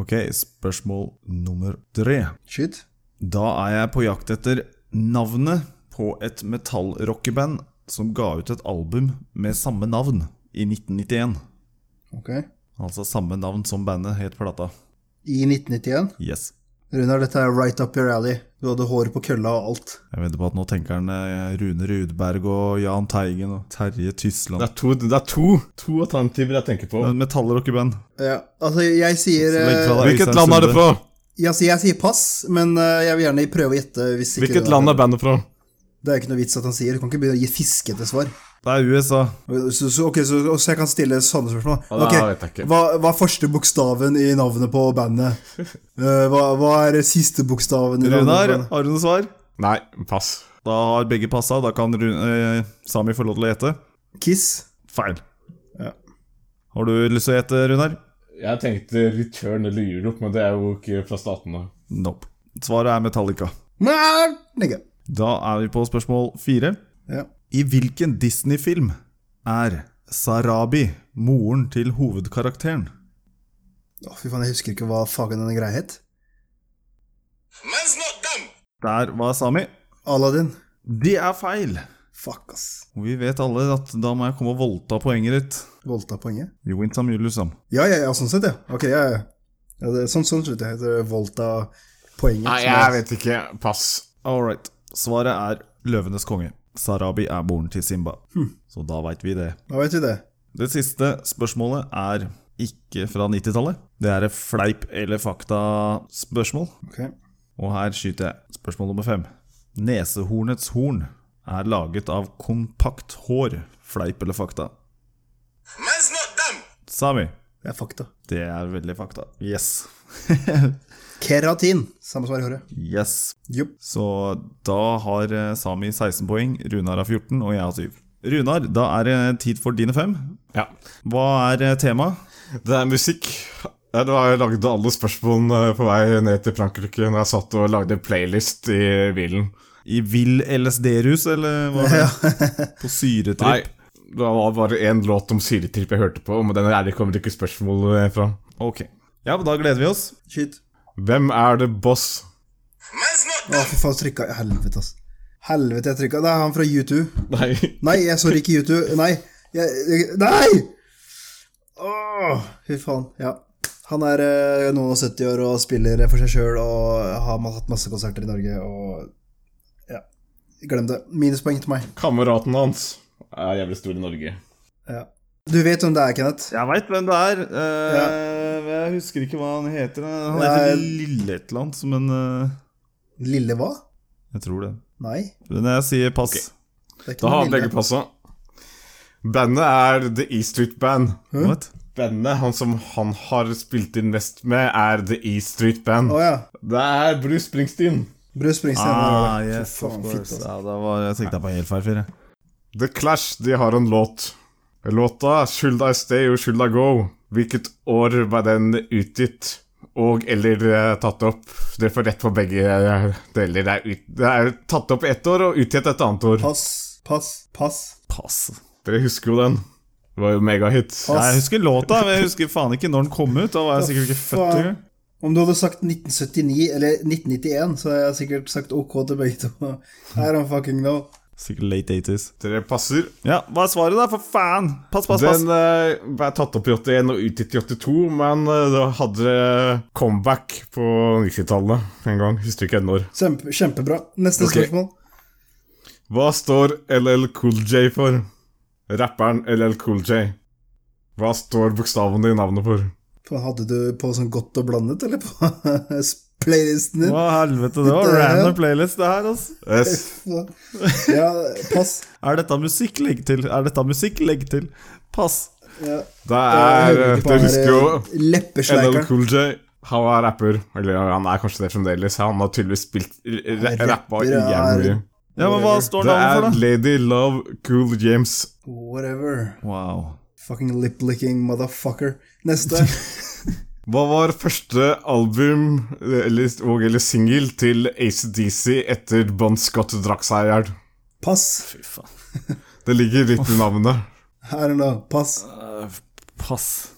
Ok, spørsmål nummer tre.
Skyt.
Da er jeg på jakt etter navnet på et metallrockeband som ga ut et album med samme navn i 1991.
Ok.
Altså samme navn som bandet het plata.
I 1991.
Yes.
Runar, dette er right up your alley. Du hadde hår på kølla og alt.
Jeg venter på at nå tenker han eh, Rune Rudberg og Jahn Teigen og Terje
Det
Tysland.
er to, det er to, to alternativer jeg tenker på.
Men Metallrockeband.
Ja, altså, jeg sier
Så legg
eh,
fra deg
Hvilket
Øystein
land er det
Sunde.
fra?
Ja, så jeg sier pass, men eh, jeg vil gjerne prøve å gjette. Hvis ikke
Hvilket land er bandet fra?
Det er jo ikke noe vits at han sier. Du kan ikke begynne å gi fiskete svar.
Det er USA.
Så, så, ok, så, så jeg kan stille sånne spørsmål.
Ja, det
Ok,
vet jeg ikke.
hva, hva er første bokstaven i navnet på
[laughs]
bandet? Eh, hva, hva er siste bokstaven i navnet?
Runar,
på bandet?
har du noe svar?
Nei, pass.
Da har begge passa. Da kan Rune, eh, Sami få lov til å gjette.
Kiss?
Feil.
Ja.
Har du lyst til å gjette, Runar?
Jeg tenkte Return eller Europe, men det er jo ikke fra statene.
Nope. Svaret er Metallica.
Nei, nigga.
Da er vi på spørsmål fire.
Ja.
I hvilken Disney-film er Sarabi moren til hovedkarakteren?
Å, fy faen, jeg husker ikke hva fagen denne greia het.
Der var Sami.
Aladdin.
Det er feil.
Fuck, ass.
Og vi vet alle at da må jeg komme og voldta poenget ditt.
Voldta poenget.
Jo, Intamulus, Sam.
Ja, ja, ja, sånn sett, ja. Ok, ja, ja. ja det, sånn, sånn sett, ja. Det er Volta poenget.
Nei, jeg vet ikke. Pass.
All right. Svaret er Løvenes konge. Sarabi er moren til Simba. Hm. Så da veit vi det.
Da vet vi det.
Det siste spørsmålet er ikke fra 90-tallet. Det er et fleip eller fakta-spørsmål.
Ok.
Og her skyter jeg. Spørsmål nummer fem. Nesehornets horn er laget av kompakt hår. Fleip eller fakta?
Man's not dumb.
Sami.
Det er fakta.
Det er veldig fakta. Yes. [laughs]
Keratin. Samme svar i håret.
yes.
Jupp.
Så da har eh, Sami 16 poeng, Runar har 14, og jeg har 7. Runar, da er det tid for dine fem.
Ja.
Hva er eh, temaet?
Det er musikk. Ja, Du har jo lagd alle spørsmålene eh, på vei ned til Frankrike når jeg satt og lagde playlist i bilen.
I vill LSD-rus, eller hva er det? På syretripp?
Nei, det var bare én låt om syretripp jeg hørte på, men den er det kommer ikke spørsmål eh, fra.
Ok. Ja, men da gleder vi oss.
Skyt.
Hvem er det boss?
Man's not
Å,
dumb.
fy faen, trykka Helvete, ass. Helvete, jeg trykka. Det er han fra U2.
Nei, [laughs]
Nei, jeg så ikke U2. Nei! Jeg, jeg, nei! Åh, fy faen. Ja. Han er eh, noen og 70 år og spiller for seg sjøl og har ma- hatt masse konserter i Norge og Ja. Glem det. Minuspoeng til meg.
kameraten hans er jævlig stor i Norge.
Ja. Du vet hvem det er, Kenneth?
Jeg veit hvem det er. eh, men Jeg husker ikke hva han heter. Han
Nei.
heter Lille et eller annet, men eh,
Lille hva?
jeg tror det.
Nei.
Men jeg sier pass.
Det er ikke
Da
noe
har
lille.
begge passa. Bandet er The E Street Band.
What?
Bandet han som han har spilt inn mest med, er The E Street Band.
Å ja.
Det er Bruce Springsteen.
Bruce Springsteen.
Ah,
Fy
yes, of
faen, fitt,
course.
altså.
Ja, da var, jeg tenkte jeg på helt feil fyr. jeg.
The Clash, de har en låt. Låta 'Should I Stay or Should I Go'. Hvilket år var den utgitt? Og eller eh, tatt opp? Dere får rett på begge eh, deler. Det er, ut, det er tatt opp ett år og utgitt et annet år.
Pass, pass, pass.
Pass.
Dere husker jo den. Det var jo megahit.
Pass.
Nei, jeg husker låta, men jeg husker faen ikke når den kom ut. Da var jeg sikkert ikke født
Faen.
engang.
Om du hadde sagt 1979 eller 1991, så hadde jeg sikkert sagt OK til begge to. I don't fucking know.
Sikkert late 80s.
Dere passer.
Ja, hva er svaret, da? For faen! Pass, pass, pass.
Den eh, ble tatt opp i 81 og utgitt i 82, men eh, det hadde comeback på 90-tallet en gang. Husker ikke ennå.
Kjempe, kjempebra. Neste
Ok.
spørsmål.
Hva står LL Cool J for? Rapperen LL Cool J. Hva står bokstavene i navnet for?
På- Hadde du på sånn godt og blandet, eller på [laughs] playlisten din?
Hva helvete, det var
Det-
random playlist, det her, altså.
S.
Ja,
[laughs]
pass.
Er dette musikk? Legg til. Er dette musikk? Legg til. Pass.
Ja.
Det
Jeg
er
hører ikke på
Dere
den
husker
der,
jo
eh,
LL
Leppesleikeren.
Cool J. Han var rapper. Eller ja, han er kanskje det fremdeles. Han har tydeligvis spilt
Han er
rappa
rapper, ja.
jævlig mye.
Ja, men hva står
Det
navnet
er
for, da?
Lady Love Cool James.
Whatever.
Wow.
Fucking lip-licking motherfucker. Neste.
Hva var første album eller, og eller singel til ACDC etter Bon Scott drakk seg i hjel?
Pass.
Fy faen.
Det ligger litt i navnet.
I don't know. Pass.
Eh, pass.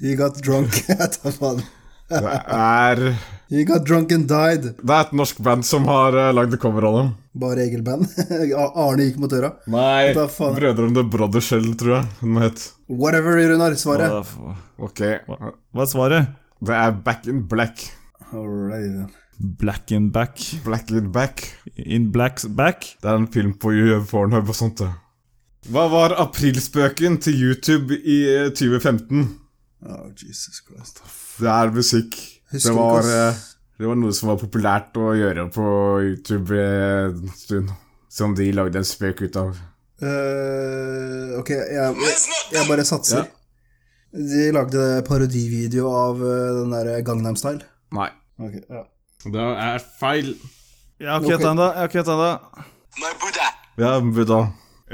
He got drunk. [laughs] Jeg tar faen.
Det er,
He got drunk and died.
det er et norsk band som har uh, lagd cover av dem.
Bare [laughs] egelband. Arne gikk mot døra.
Nei,
Hva faen?
Brødrene Brothers Shell, tror jeg den het.
Whatever, Runar. Svaret.
Hva
Ok,
hva er svaret?
det er Back in Black.
Alright.
Black in back.
Black in Back.
In black's back.
Det er en film på Pornhub og sånt. det. Hva var aprilspøken til YouTube i eh, 2015?
Oh, Jesus Christ.
Det er musikk.
Husker
Det var,
ikke,
eh,
ass.
det var noe som var populært å gjøre på YouTube eh, en stund. Som de lagde en spøk ut av.
Eh, ok, jeg,
Man's not
jeg
dumb.
bare satser. De lagde parodivideo av eh, den der Gangnam Style.
Nei.
Ok, ja.
Det er feil.
Jeg har ikke gjetta ennå. Jeg har ikke gjetta ennå.
My Buddha.
Ja, Buddha.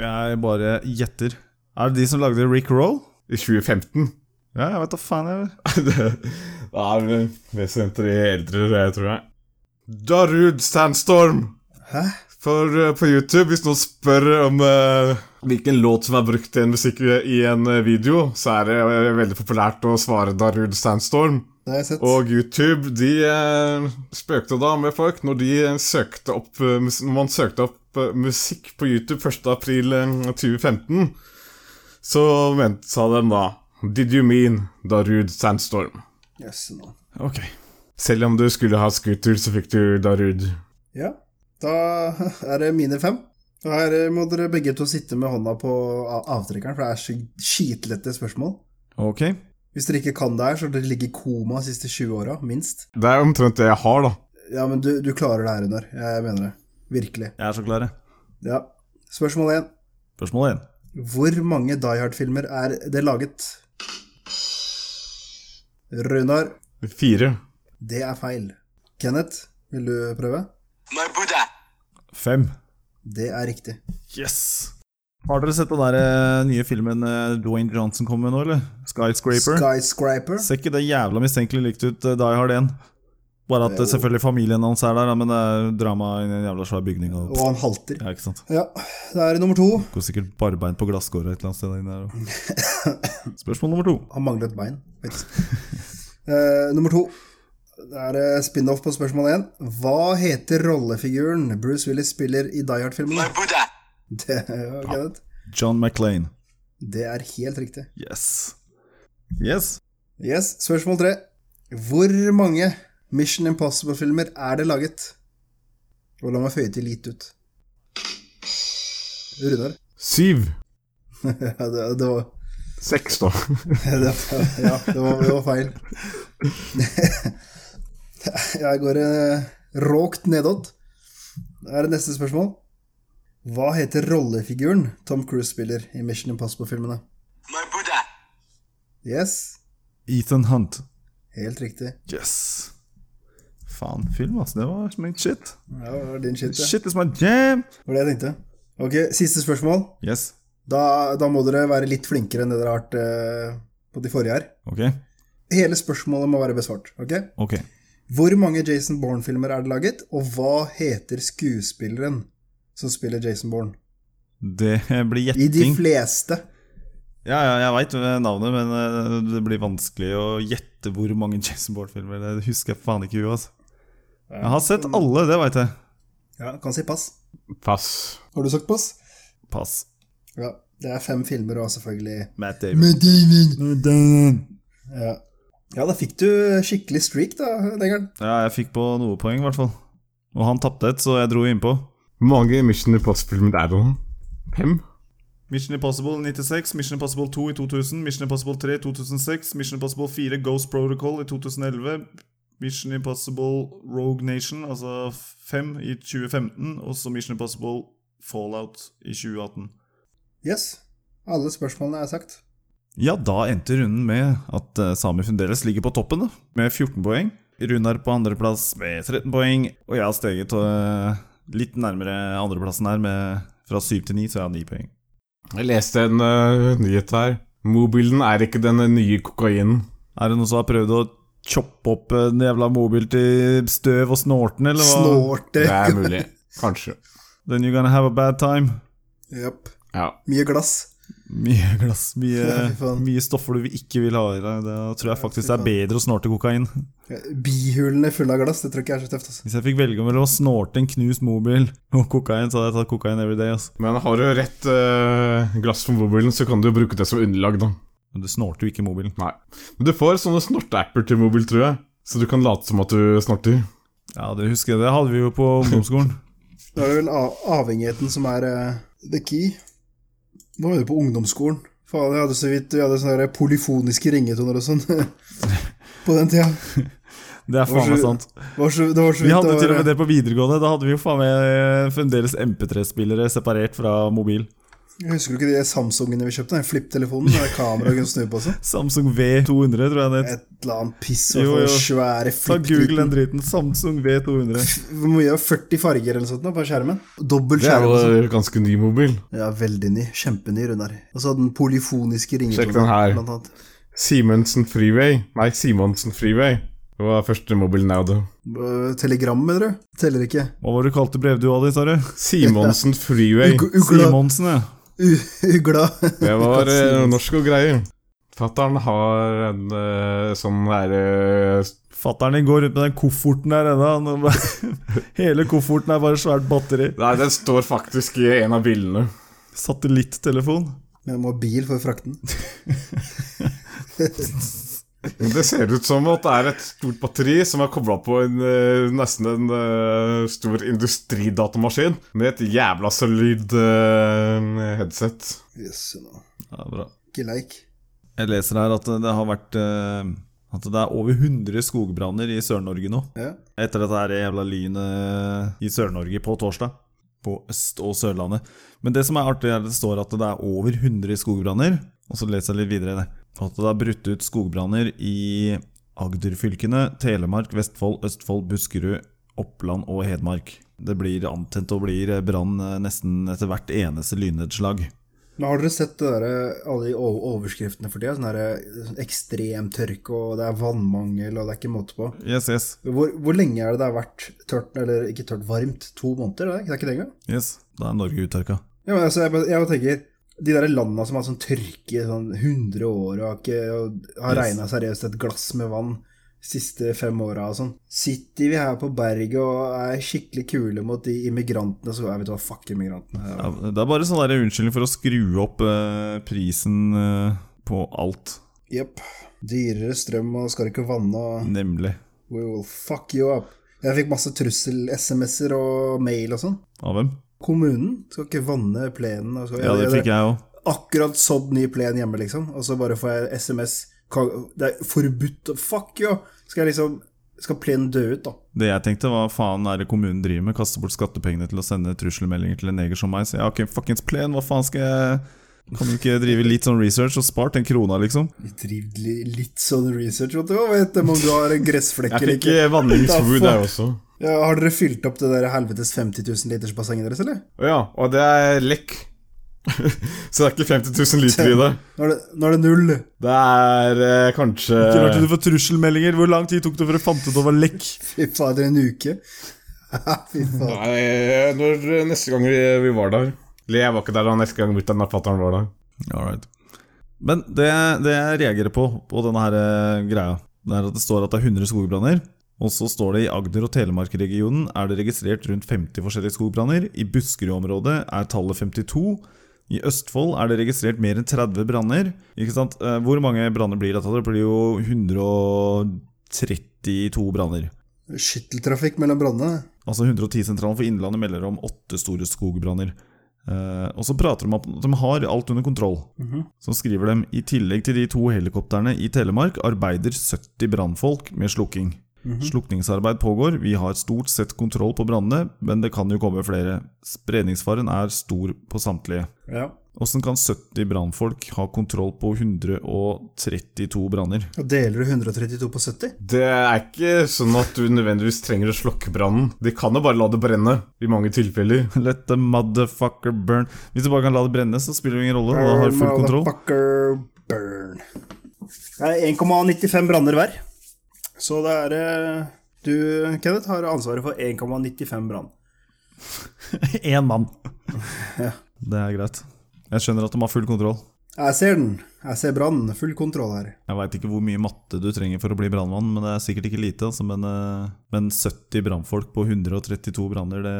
Jeg bare gjetter. Er det de som lagde Rick Roll?
I 2015. [laughs]
Ja, jeg vet da faen. jeg
det er vel vesentlig eldre, det tror jeg. Darud Sandstorm.
Hæ?
For eh, på YouTube, hvis noen spør om eh, hvilken låt som er eh, brukt i en musikk i en eh, video, så er det eh, veldig populært å svare Darud Sandstorm.
Det har jeg sett.
Og YouTube de eh, spøkte da med folk når, de søkte opp, eh, mus- når man søkte opp eh, musikk på YouTube 1. april eh, 2015. Så vent, sa de da Did you mean Darud Sandstorm?
Yes, nå.
Ok.
Selv om du skulle ha scooter, så fikk du Darud.
Ja, da [laughs] er det mine fem. Og her eh, må dere begge to sitte med hånda på a- avtrekkeren, for det er sk- skitlette spørsmål.
Ok.
Hvis dere ikke kan det her, så dere ligger i koma de siste 20 åra, minst.
Det er omtrent det jeg har, da.
Ja, men du, du klarer det her, Runar. Jeg mener det. Virkelig.
Jeg er så klar, jeg.
Ja. Spørsmål én.
Spørsmål én.
Hvor mange Die Hard-filmer er det laget? Runar,
Fire.
det er feil. Kenneth, vil du prøve?
My Buddha.
Fem.
Det er riktig.
Yes! Har dere sett den der eh, nye filmen eh, Dwayne Johnson kom med nå, eller? Skyscraper?
Skyscraper.
Ser ikke det jævla mistenkelig likt ut, eh, Die Hard 1? Bare at eh, selvfølgelig familien hans er der, da, men det er jo drama i en jævla svær bygning og
Og han halter.
Ja, ikke sant.
Ja, det er nummer to.
Går sikkert barbeint på glasskåret et eller annet sted inni der. og- [laughs] Spørsmål nummer to.
Han manglet bein. vet du. Eh, nummer to. Det er eh, spin-off på spørsmål én. Hva heter rollefiguren Bruce Willis spiller i Die
My
Hard-filmene?
Buddha.
Det, ja, Kenneth.
John McClain.
det er helt riktig.
Yes. Yes.
Yes, Spørsmål tre. Hvor mange Mission Impossible-filmer er det laget? Og la meg føye til litt ut. Runar. [laughs]
Syv.
Ja, det, det var [laughs]
Seks, da. [laughs]
det, Ja, det var, det var feil. [laughs] Jeg går eh, råkt nedåt. Da er det neste spørsmål. Hva heter rollefiguren Tom Cruise spiller i Mission Impossible-filmene?
My Buddha.
Yes,
Ethan Hunt.
helt riktig.
Yes. Faen, film, altså. Det var min shit.
Ja, det var din shit, det.
Shit is my jam!
Det var det jeg tenkte. Ok, siste spørsmål.
Yes.
Da, da må dere være litt flinkere enn det dere har vært eh, på de forrige her.
Ok.
Hele spørsmålet må være besvart. ok?
Ok.
Hvor mange Jason Bourne-filmer er det laget, og hva heter skuespilleren som spiller Jason Bourne?
Det
I
blir
de
gjetting.
fleste.
Ja, ja, jeg veit navnet, men eh, det blir vanskelig å gjette hvor mange Jason Bourne-filmer. Det husker jeg faen ikke i huet. Altså. Jeg har sett alle, det veit jeg.
Ja, kan si pass.
Pass.
Har du sagt pass?
Pass.
Ja. Det er fem filmer og selvfølgelig
Matt David.
Ja, ja da fikk du skikkelig streak, da, Negeren.
Ja, jeg fikk på noe poeng, i hvert fall. Og han tapte et, så jeg dro innpå.
Hvor mange Mission Impossible er det? Fem?
Mission Impossible 96, Mission Impossible 2 i 2000, Mission Impossible 3 i 2006, Mission Impossible 4 Ghost Protocol i 2011, Mission Impossible Rogue Nation, altså 5 i 2015, og så Mission Impossible Fallout i 2018.
Yes. Alle spørsmålene er sagt.
Ja, da endte runden med at eh, Sami fremdeles ligger på toppen, da, med 14 poeng. Runar på andreplass med 13 poeng, og jeg har steget eh, litt nærmere andreplassen her, med, fra 7 til 9, så jeg har 9 poeng.
Jeg leste en eh, nyhet her. Mobilen er ikke den nye kokainen.
Er det noen som har prøvd å choppe opp eh, den jævla mobil til støv og snorten, eller hva?
Det
Snorte.
er mulig. Kanskje.
Then you're gonna have a bad time.
Japp.
Ja.
Mye glass.
Mye glass, mye,
Ja, fy faen.
mye stoffer du ikke vil ha i deg. Det tror jeg faktisk det er bedre å snorte kokain.
Bihulene fulle av glass, det tror jeg ikke er så tøft. Altså.
Hvis jeg fikk velge mellom å snorte en knust mobil og kokain, så hadde jeg tatt kokain every day. altså. ass.
Men har du rett eh, glass for mobilen, så kan du jo bruke det som underlag, da.
Men du snorter jo ikke mobilen.
Nei. Men du får sånne snorteapper til mobil, tror jeg. Så du kan late som at du snorter.
Ja, det husker jeg. Det hadde vi jo på ungdomsskolen.
Da er det vel av avhengigheten som er eh, the key. Nå er du på ungdomsskolen. Faen, jeg hadde så vidt Vi hadde sånne der polyfoniske ringetoner og sånn [laughs] på den tida.
Det er faen meg sant.
Det var så, det var så
Vi
vidt
hadde
det
til
var-
og
eh,
med det på videregående. Da hadde vi jo faen meg eh, fremdeles MP3-spillere separert fra mobil.
Jeg Husker du ikke de Samsungene vi kjøpte? Den flipptelefonen med kamera og kunne snu på seg?
Samsung V200, tror jeg det het.
Et eller annet piss.
Jo,
Jo,
jo.
Svære
Ta Google den
flipptelefoner.
driten. Samsung V200.
Hvor mye er 40 farger eller noe sånt nå på skjermen? Dobbel
Det er
skjerm. og sånt.
jo ganske ny mobil.
Ja, veldig ny. Kjempeny, Runar. Og så hadde den polyfoniske ringetonen.
Sjekk den her.
blant annet.
Simensen Freeway. Nei, Simonsen Freeway. Det var første mobilen jeg hadde.
Øh, Telegram, mener du? Teller ikke.
Hva var det du kalte brevet du hadde, sa du?
[laughs] Simonsen Freeway.
Ug- Ugla.
Simonsen, ja.
U- Ugla.
Det var eh, norsk og greier. Fattern har en eh, sånn derre
Fatteren din går rundt med den kofferten der ennå. han er bare- [laughs] Hele kofferten er bare svært batteri.
Nei, den står faktisk i en av bildene.
Satellittelefon.
Med mobil for frakten.
Det ser ut som at det er et stort batteri som er kobla på en, eh, nesten en eh, stor industridatamaskin med et jævla solid eh, headset.
Jøss, nå.
Ja, bra.
Ikke leik.
Jeg leser her at det har vært eh, At det er over 100 skogbranner i Sør-Norge nå.
Ja.
Etter dette her jævla lynet eh, i Sør-Norge på torsdag. På Øst- og Sørlandet. Men det som er artig, er at det står at det er over 100 skogbranner. Og så leser jeg litt videre. der. At det er brutt ut skogbranner i Agder-fylkene, Telemark, Vestfold, Østfold, Buskerud, Oppland og Hedmark. Det blir antent og blir brann eh, nesten etter hvert eneste lynnedslag.
Men har dere sett det der, alle de o- overskriftene for tida? Sånn derre sånn ekstrem tørke, og det er vannmangel, og det er ikke måte på.
Yes, yes.
Hvor, hvor lenge er det det har vært tørt, eller ikke tørt, varmt? To måneder? Det er, det er ikke det engang?
yes. Da er Norge uttørka.
Ja, men altså, jeg, bare- jeg bare tenker, de der landene som har sånn tørke i sånn 100 år, og har, ikke, og har
Yes.
regnet seriøst et glass med vann siste fem åra og sånn. Sitter vi her på berget og er skikkelig kule mot de immigrantene, så jeg vet du hva, fuck immigrantene.
Ja, det er bare sånn der unnskyldning for å skru opp eh, prisen eh, på alt.
Jepp. Dyrere strøm og skal ikke vanne og
Nemlig.
We will fuck you up. Jeg fikk masse trussel-SMS-er og mail og sånn.
Av hvem?
Kommunen skal ikke vanne plenen. Og skal,
Ja, det fikk jeg òg.
Akkurat sådd ny plen hjemme, liksom. Og så bare får jeg SMS ka- Det er forbudt å Fuck you! Skal jeg liksom Skal plenen dø ut, da?
Det jeg tenkte, hva faen er det kommunen driver med? Kaste bort skattepengene til å sende trusselmeldinger til en neger som meg? Så ja, ok, fuckings plen, hva faen skal jeg Kan du ikke drive litt sånn research og spart en krona, liksom?
Vi driver li- litt sånn research, vet du. Hva vet du om du har en gressflekk
Jeg
eller
fikk
ikke?
eh,
[laughs]
vanningsforbud
Da
der også.
Ja, har dere fylt opp det der helvetes 50 000 liters bassenget deres, eller?
Å ja, og det er lekk. [laughs] Så det er ikke 50 000 liter i det.
Nå er det, nå er det null. [laughs]
Det er eh, kanskje
Ikke rart du får trusselmeldinger. Hvor lang tid tok det for å fant ut det var lekk?
Fy fader, en uke. [laughs] Fy fader.
Nei, eh, når eh, neste gang vi, vi var der Eller jeg var ikke der da neste gang mutter'n og fatter'n var der.
All right. Men det, det jeg reagerer på, på denne her eh, greia, det er at det står at det er 100 skogbranner. Og så står det i Agder og Telemark-regionen er det registrert rundt 50 forskjellige skogbranner. I Buskerud-området er tallet 52. I Østfold er det registrert mer enn 30 branner. Ikke sant? Eh, Hvor mange branner blir dette? Det blir jo 132 branner.
Skytteltrafikk mellom brannene.
Altså 110-sentralen for Innlandet melder om åtte store skogbranner. Eh, og så prater de om at de har alt under kontroll. Så skriver de i tillegg til de to helikoptrene i Telemark arbeider 70 brannfolk med slukking. Slukningsarbeid pågår, vi har stort sett kontroll på brannene, men det kan jo komme flere. Spredningsfaren er stor på samtlige.
Ja.
Åssen kan 70 brannfolk ha kontroll på 132 branner? [laughs]
Og deler du 132 på 70?
Det er ikke sånn at du nødvendigvis trenger å slokke brannen. De kan jo bare la det brenne, i mange tilfeller.
Let the motherfucker burn. Hvis du bare kan la det brenne, så spiller det ingen rolle, og da har du full kontroll.
Motherfucker burn. Det er 1,95 branner hver. Så det er eh, Du, Kenneth, har ansvaret for 1,95 brann.
Én mann. Det er greit. Jeg skjønner at de har full kontroll.
Jeg ser den. Jeg ser brannen. Full kontroll her.
Jeg veit ikke hvor mye matte du trenger for å bli brannmann, men det er sikkert ikke lite. Altså, men, eh, men 70 brannfolk på 132 branner, det,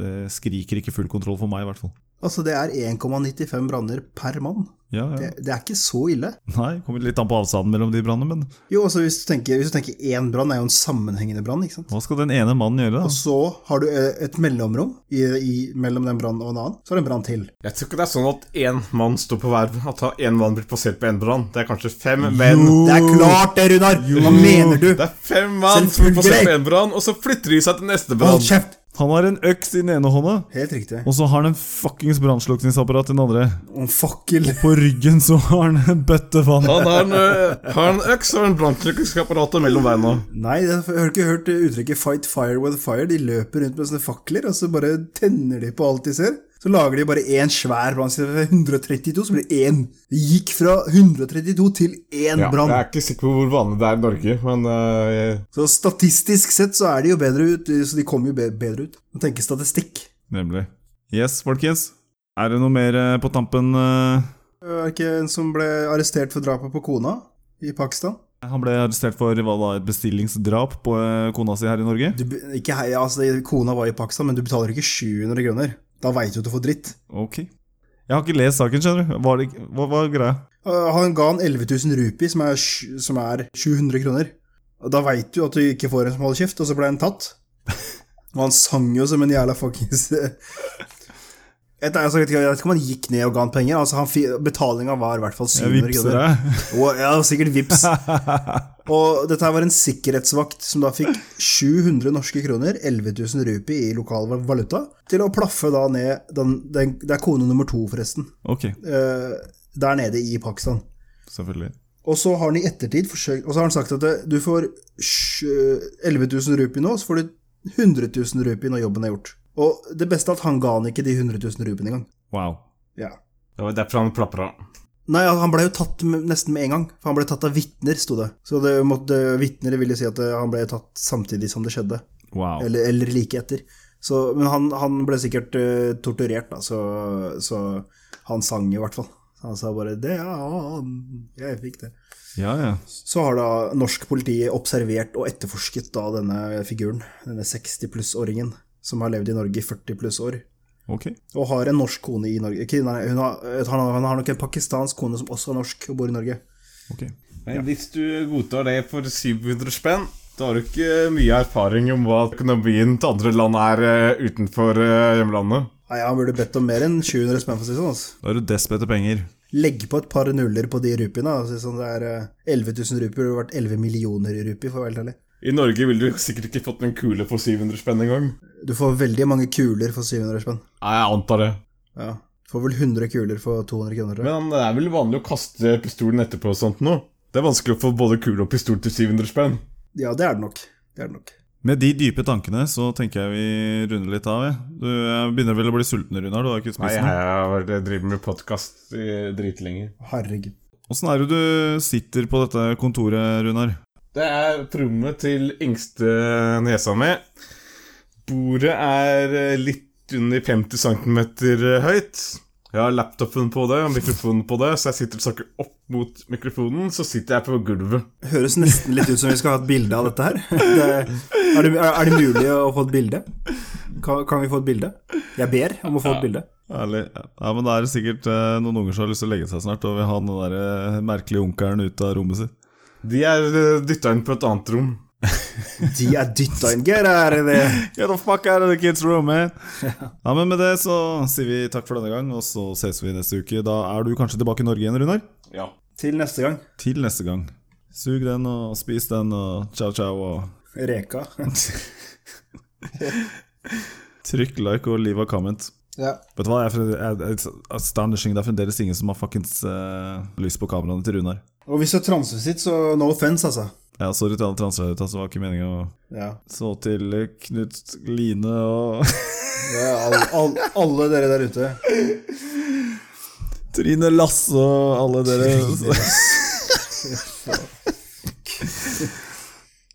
det skriker ikke full kontroll for meg, i hvert fall.
Altså, det er 1,95 branner per mann.
Ja,
Det,
ja.
det er ikke så ille.
Nei, kommer litt an på avstanden mellom de brannene, men
Jo, altså, hvis du tenker, hvis du tenker én brann, er jo en sammenhengende brann, ikke sant?
hva skal den ene mannen gjøre?
Og
da?
så har du eh, et mellomrom i, i, mellom den brannen og en annen. Så er det en brann til.
Jeg tror ikke det er sånn at én mann står på hver At da én mann blir plassert på én brann. Det er kanskje fem menn.
Det er klart det, Runar! Hva mener du?
Det er fem mann som blir plassert på én brann, og så flytter de seg til neste brann.
Hold kjeft!
Han har en øks i den ene hånda,
Helt riktig.
og så har han en fuckings brannslukningsapparat i den andre.
Og en fakkel.
På ryggen så har han en bøtte vann.
Han har en, øh, har en øks og en brannslukningsapparat mellom beina.
Nei, jeg har ikke hørt uttrykket 'fight fire with fire'. De løper rundt med sånne fakler, og så bare tenner de på alt de ser. Så lager de bare én svær brann. Så det er 132, så blir det én. Det gikk fra 132 til én
Ja, jeg
brann.
er ikke sikker på hvor vanlig det er i Norge, men øh, jeg-
Så statistisk sett så er de jo bedre ut. Så de kommer jo be- bedre ut. Må tenke statistikk.
Nemlig. Yes, folkens. Er det noe mer eh, på tampen? eh?
Er det ikke en som ble arrestert for drapet på kona i Pakistan?
Han ble arrestert for hva da, et bestillingsdrap på eh, kona si her i Norge.
Du, be- ikke hei, altså, det- kona var i Pakistan, men du betaler ikke 700 kroner. Da veit du at du får dritt.
Ok. Jeg har ikke lest saken, skjønner du. Var det, ikke- hva hva er greia?
Øh, han ga han 11 000 rupi, som er, sj- som er 700 kroner. Og da veit du at du ikke får en som holder kjeft, og så ble han tatt. Og han sang jo som en jævla fuckings Jeg vet altså, jeg vet ikke jeg vet ikke om han gikk ned og ga han penger. Altså, han Betalinga var i hvert fall
Jeg
700
vippser
kroner.
deg. [laughs]
Og, ja, sikkert vips. Og dette her var en sikkerhetsvakt som da fikk 700 norske kroner, 11 000 rupi i lokal val- valuta, til å plaffe da ned den, den, Det er kone nummer to, forresten.
Ok,
eh, der nede i Pakistan.
selvfølgelig.
Og så har han i ettertid forsøkt Og så har han sagt at eh, du får sj- 11 000 rupi nå, så får du 100 000 rupi når jobben er gjort. Og det beste er at han ga han ikke de 100 000 rupiene engang.
Wow.
Ja.
Det var derfor han plapra.
Nei, altså, han ble jo tatt med, nesten med en gang. For han ble tatt av vitner, sto det. Så det måtte, vitner ville si at eh, han ble tatt samtidig som det skjedde.
Wow.
Eller, eller like etter. Så, men han, han ble sikkert eh, torturert, da, så, så han sang i hvert fall. Så han sa bare 'det, ja, jeg fikk det'.
Ja, ja.
Så har da norsk politi observert og etterforsket da denne figuren, denne 60 pluss-åringen, som har levd i Norge i 40 pluss år.
Ok.
Og har en norsk kone i Norge. Ikke, nei, hun har, han, han har nok en pakistansk kone som også er norsk og bor i Norge.
ok.
Men hvis du godtar det for 700 spenn, da har du ikke mye erfaring om hva økonomien til andre land er eh, utenfor eh, hjemlandet.
Nei, Han burde bedt om mer enn 700 spenn, for å si det sånn. Altså.
Da er du desp etter penger.
Legg på et par nuller på de rupiene. Altså, sånn det er eh, 11 000 rupier, det har vært 11 millioner rupier, for å være helt ærlig.
I Norge ville du sikkert ikke fått en kule for 700 spenn engang.
Du får veldig mange kuler for 700 spenn.
Nei, jeg antar det.
Ja. Du får vel 100 kuler for 200 kroner. tror jeg.
Men det er vel vanlig å kaste pistolen etterpå og sånt nå? Det er vanskelig å få både kule og pistol til 700 spenn.
Ja, det er det nok. Det er det nok.
Med de dype tankene så tenker jeg vi runder litt av. Jeg. Du jeg begynner vel å bli sulten, Runar? Du har ikke spist noe?
har drevet med podkast dritlenge.
Herregud.
Åssen er det du sitter på dette kontoret, Runar?
Det er trommet til yngste nesa mi. Bordet er eh, litt under 50 cm høyt. Jeg har laptopen på det og mikrofonen på det, så jeg sitter og snakker opp mot mikrofonen. Så sitter jeg på gulvet.
Høres nesten litt ut som vi skal ha et bilde av dette her. Det, er, det, er det mulig å få et bilde? Kan, kan vi få et bilde? Jeg ber om å få et bilde.
Ærlig. Ja, men Det er sikkert eh, noen unger som har lyst til å legge seg snart og vil ha den der eh, merkelige onkelen ut av rommet sitt.
De er dytta inn på et annet rom.
De er dytta inn. Get out of there.
Get the fuck out of the kids room, man! ja, men Med det så sier vi takk for denne gang, og så ses vi neste uke. Da er du kanskje tilbake i Norge igjen, Runar?
Ja.
Til neste gang.
Til neste gang. Sug den, og spis den, og ciao, ciao, og
Reka.
trykk like og leave a comment.
Ja.
Vet du hva, jeg, jeg, it's astonishing. Det er fremdeles ingen som har fuckings eh, lys på kameraene til Runar.
Og hvis du er transvestitt, så no offense, altså.
Ja, sorry til alle transgutta, så var ikke meninga å
Ja.
Så til eh, Knut Line og [laughs]
Det er all, all, alle dere der ute.
Trine Lasse og alle dere.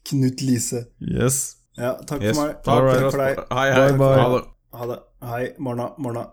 Knut Lise.
Yes.
Ja, takk
Yes.
for meg.
Takk
Takk for deg.
Hei, hei.
Bye, bye.
Ha det.
Ha det. Hei. Morna. Morna.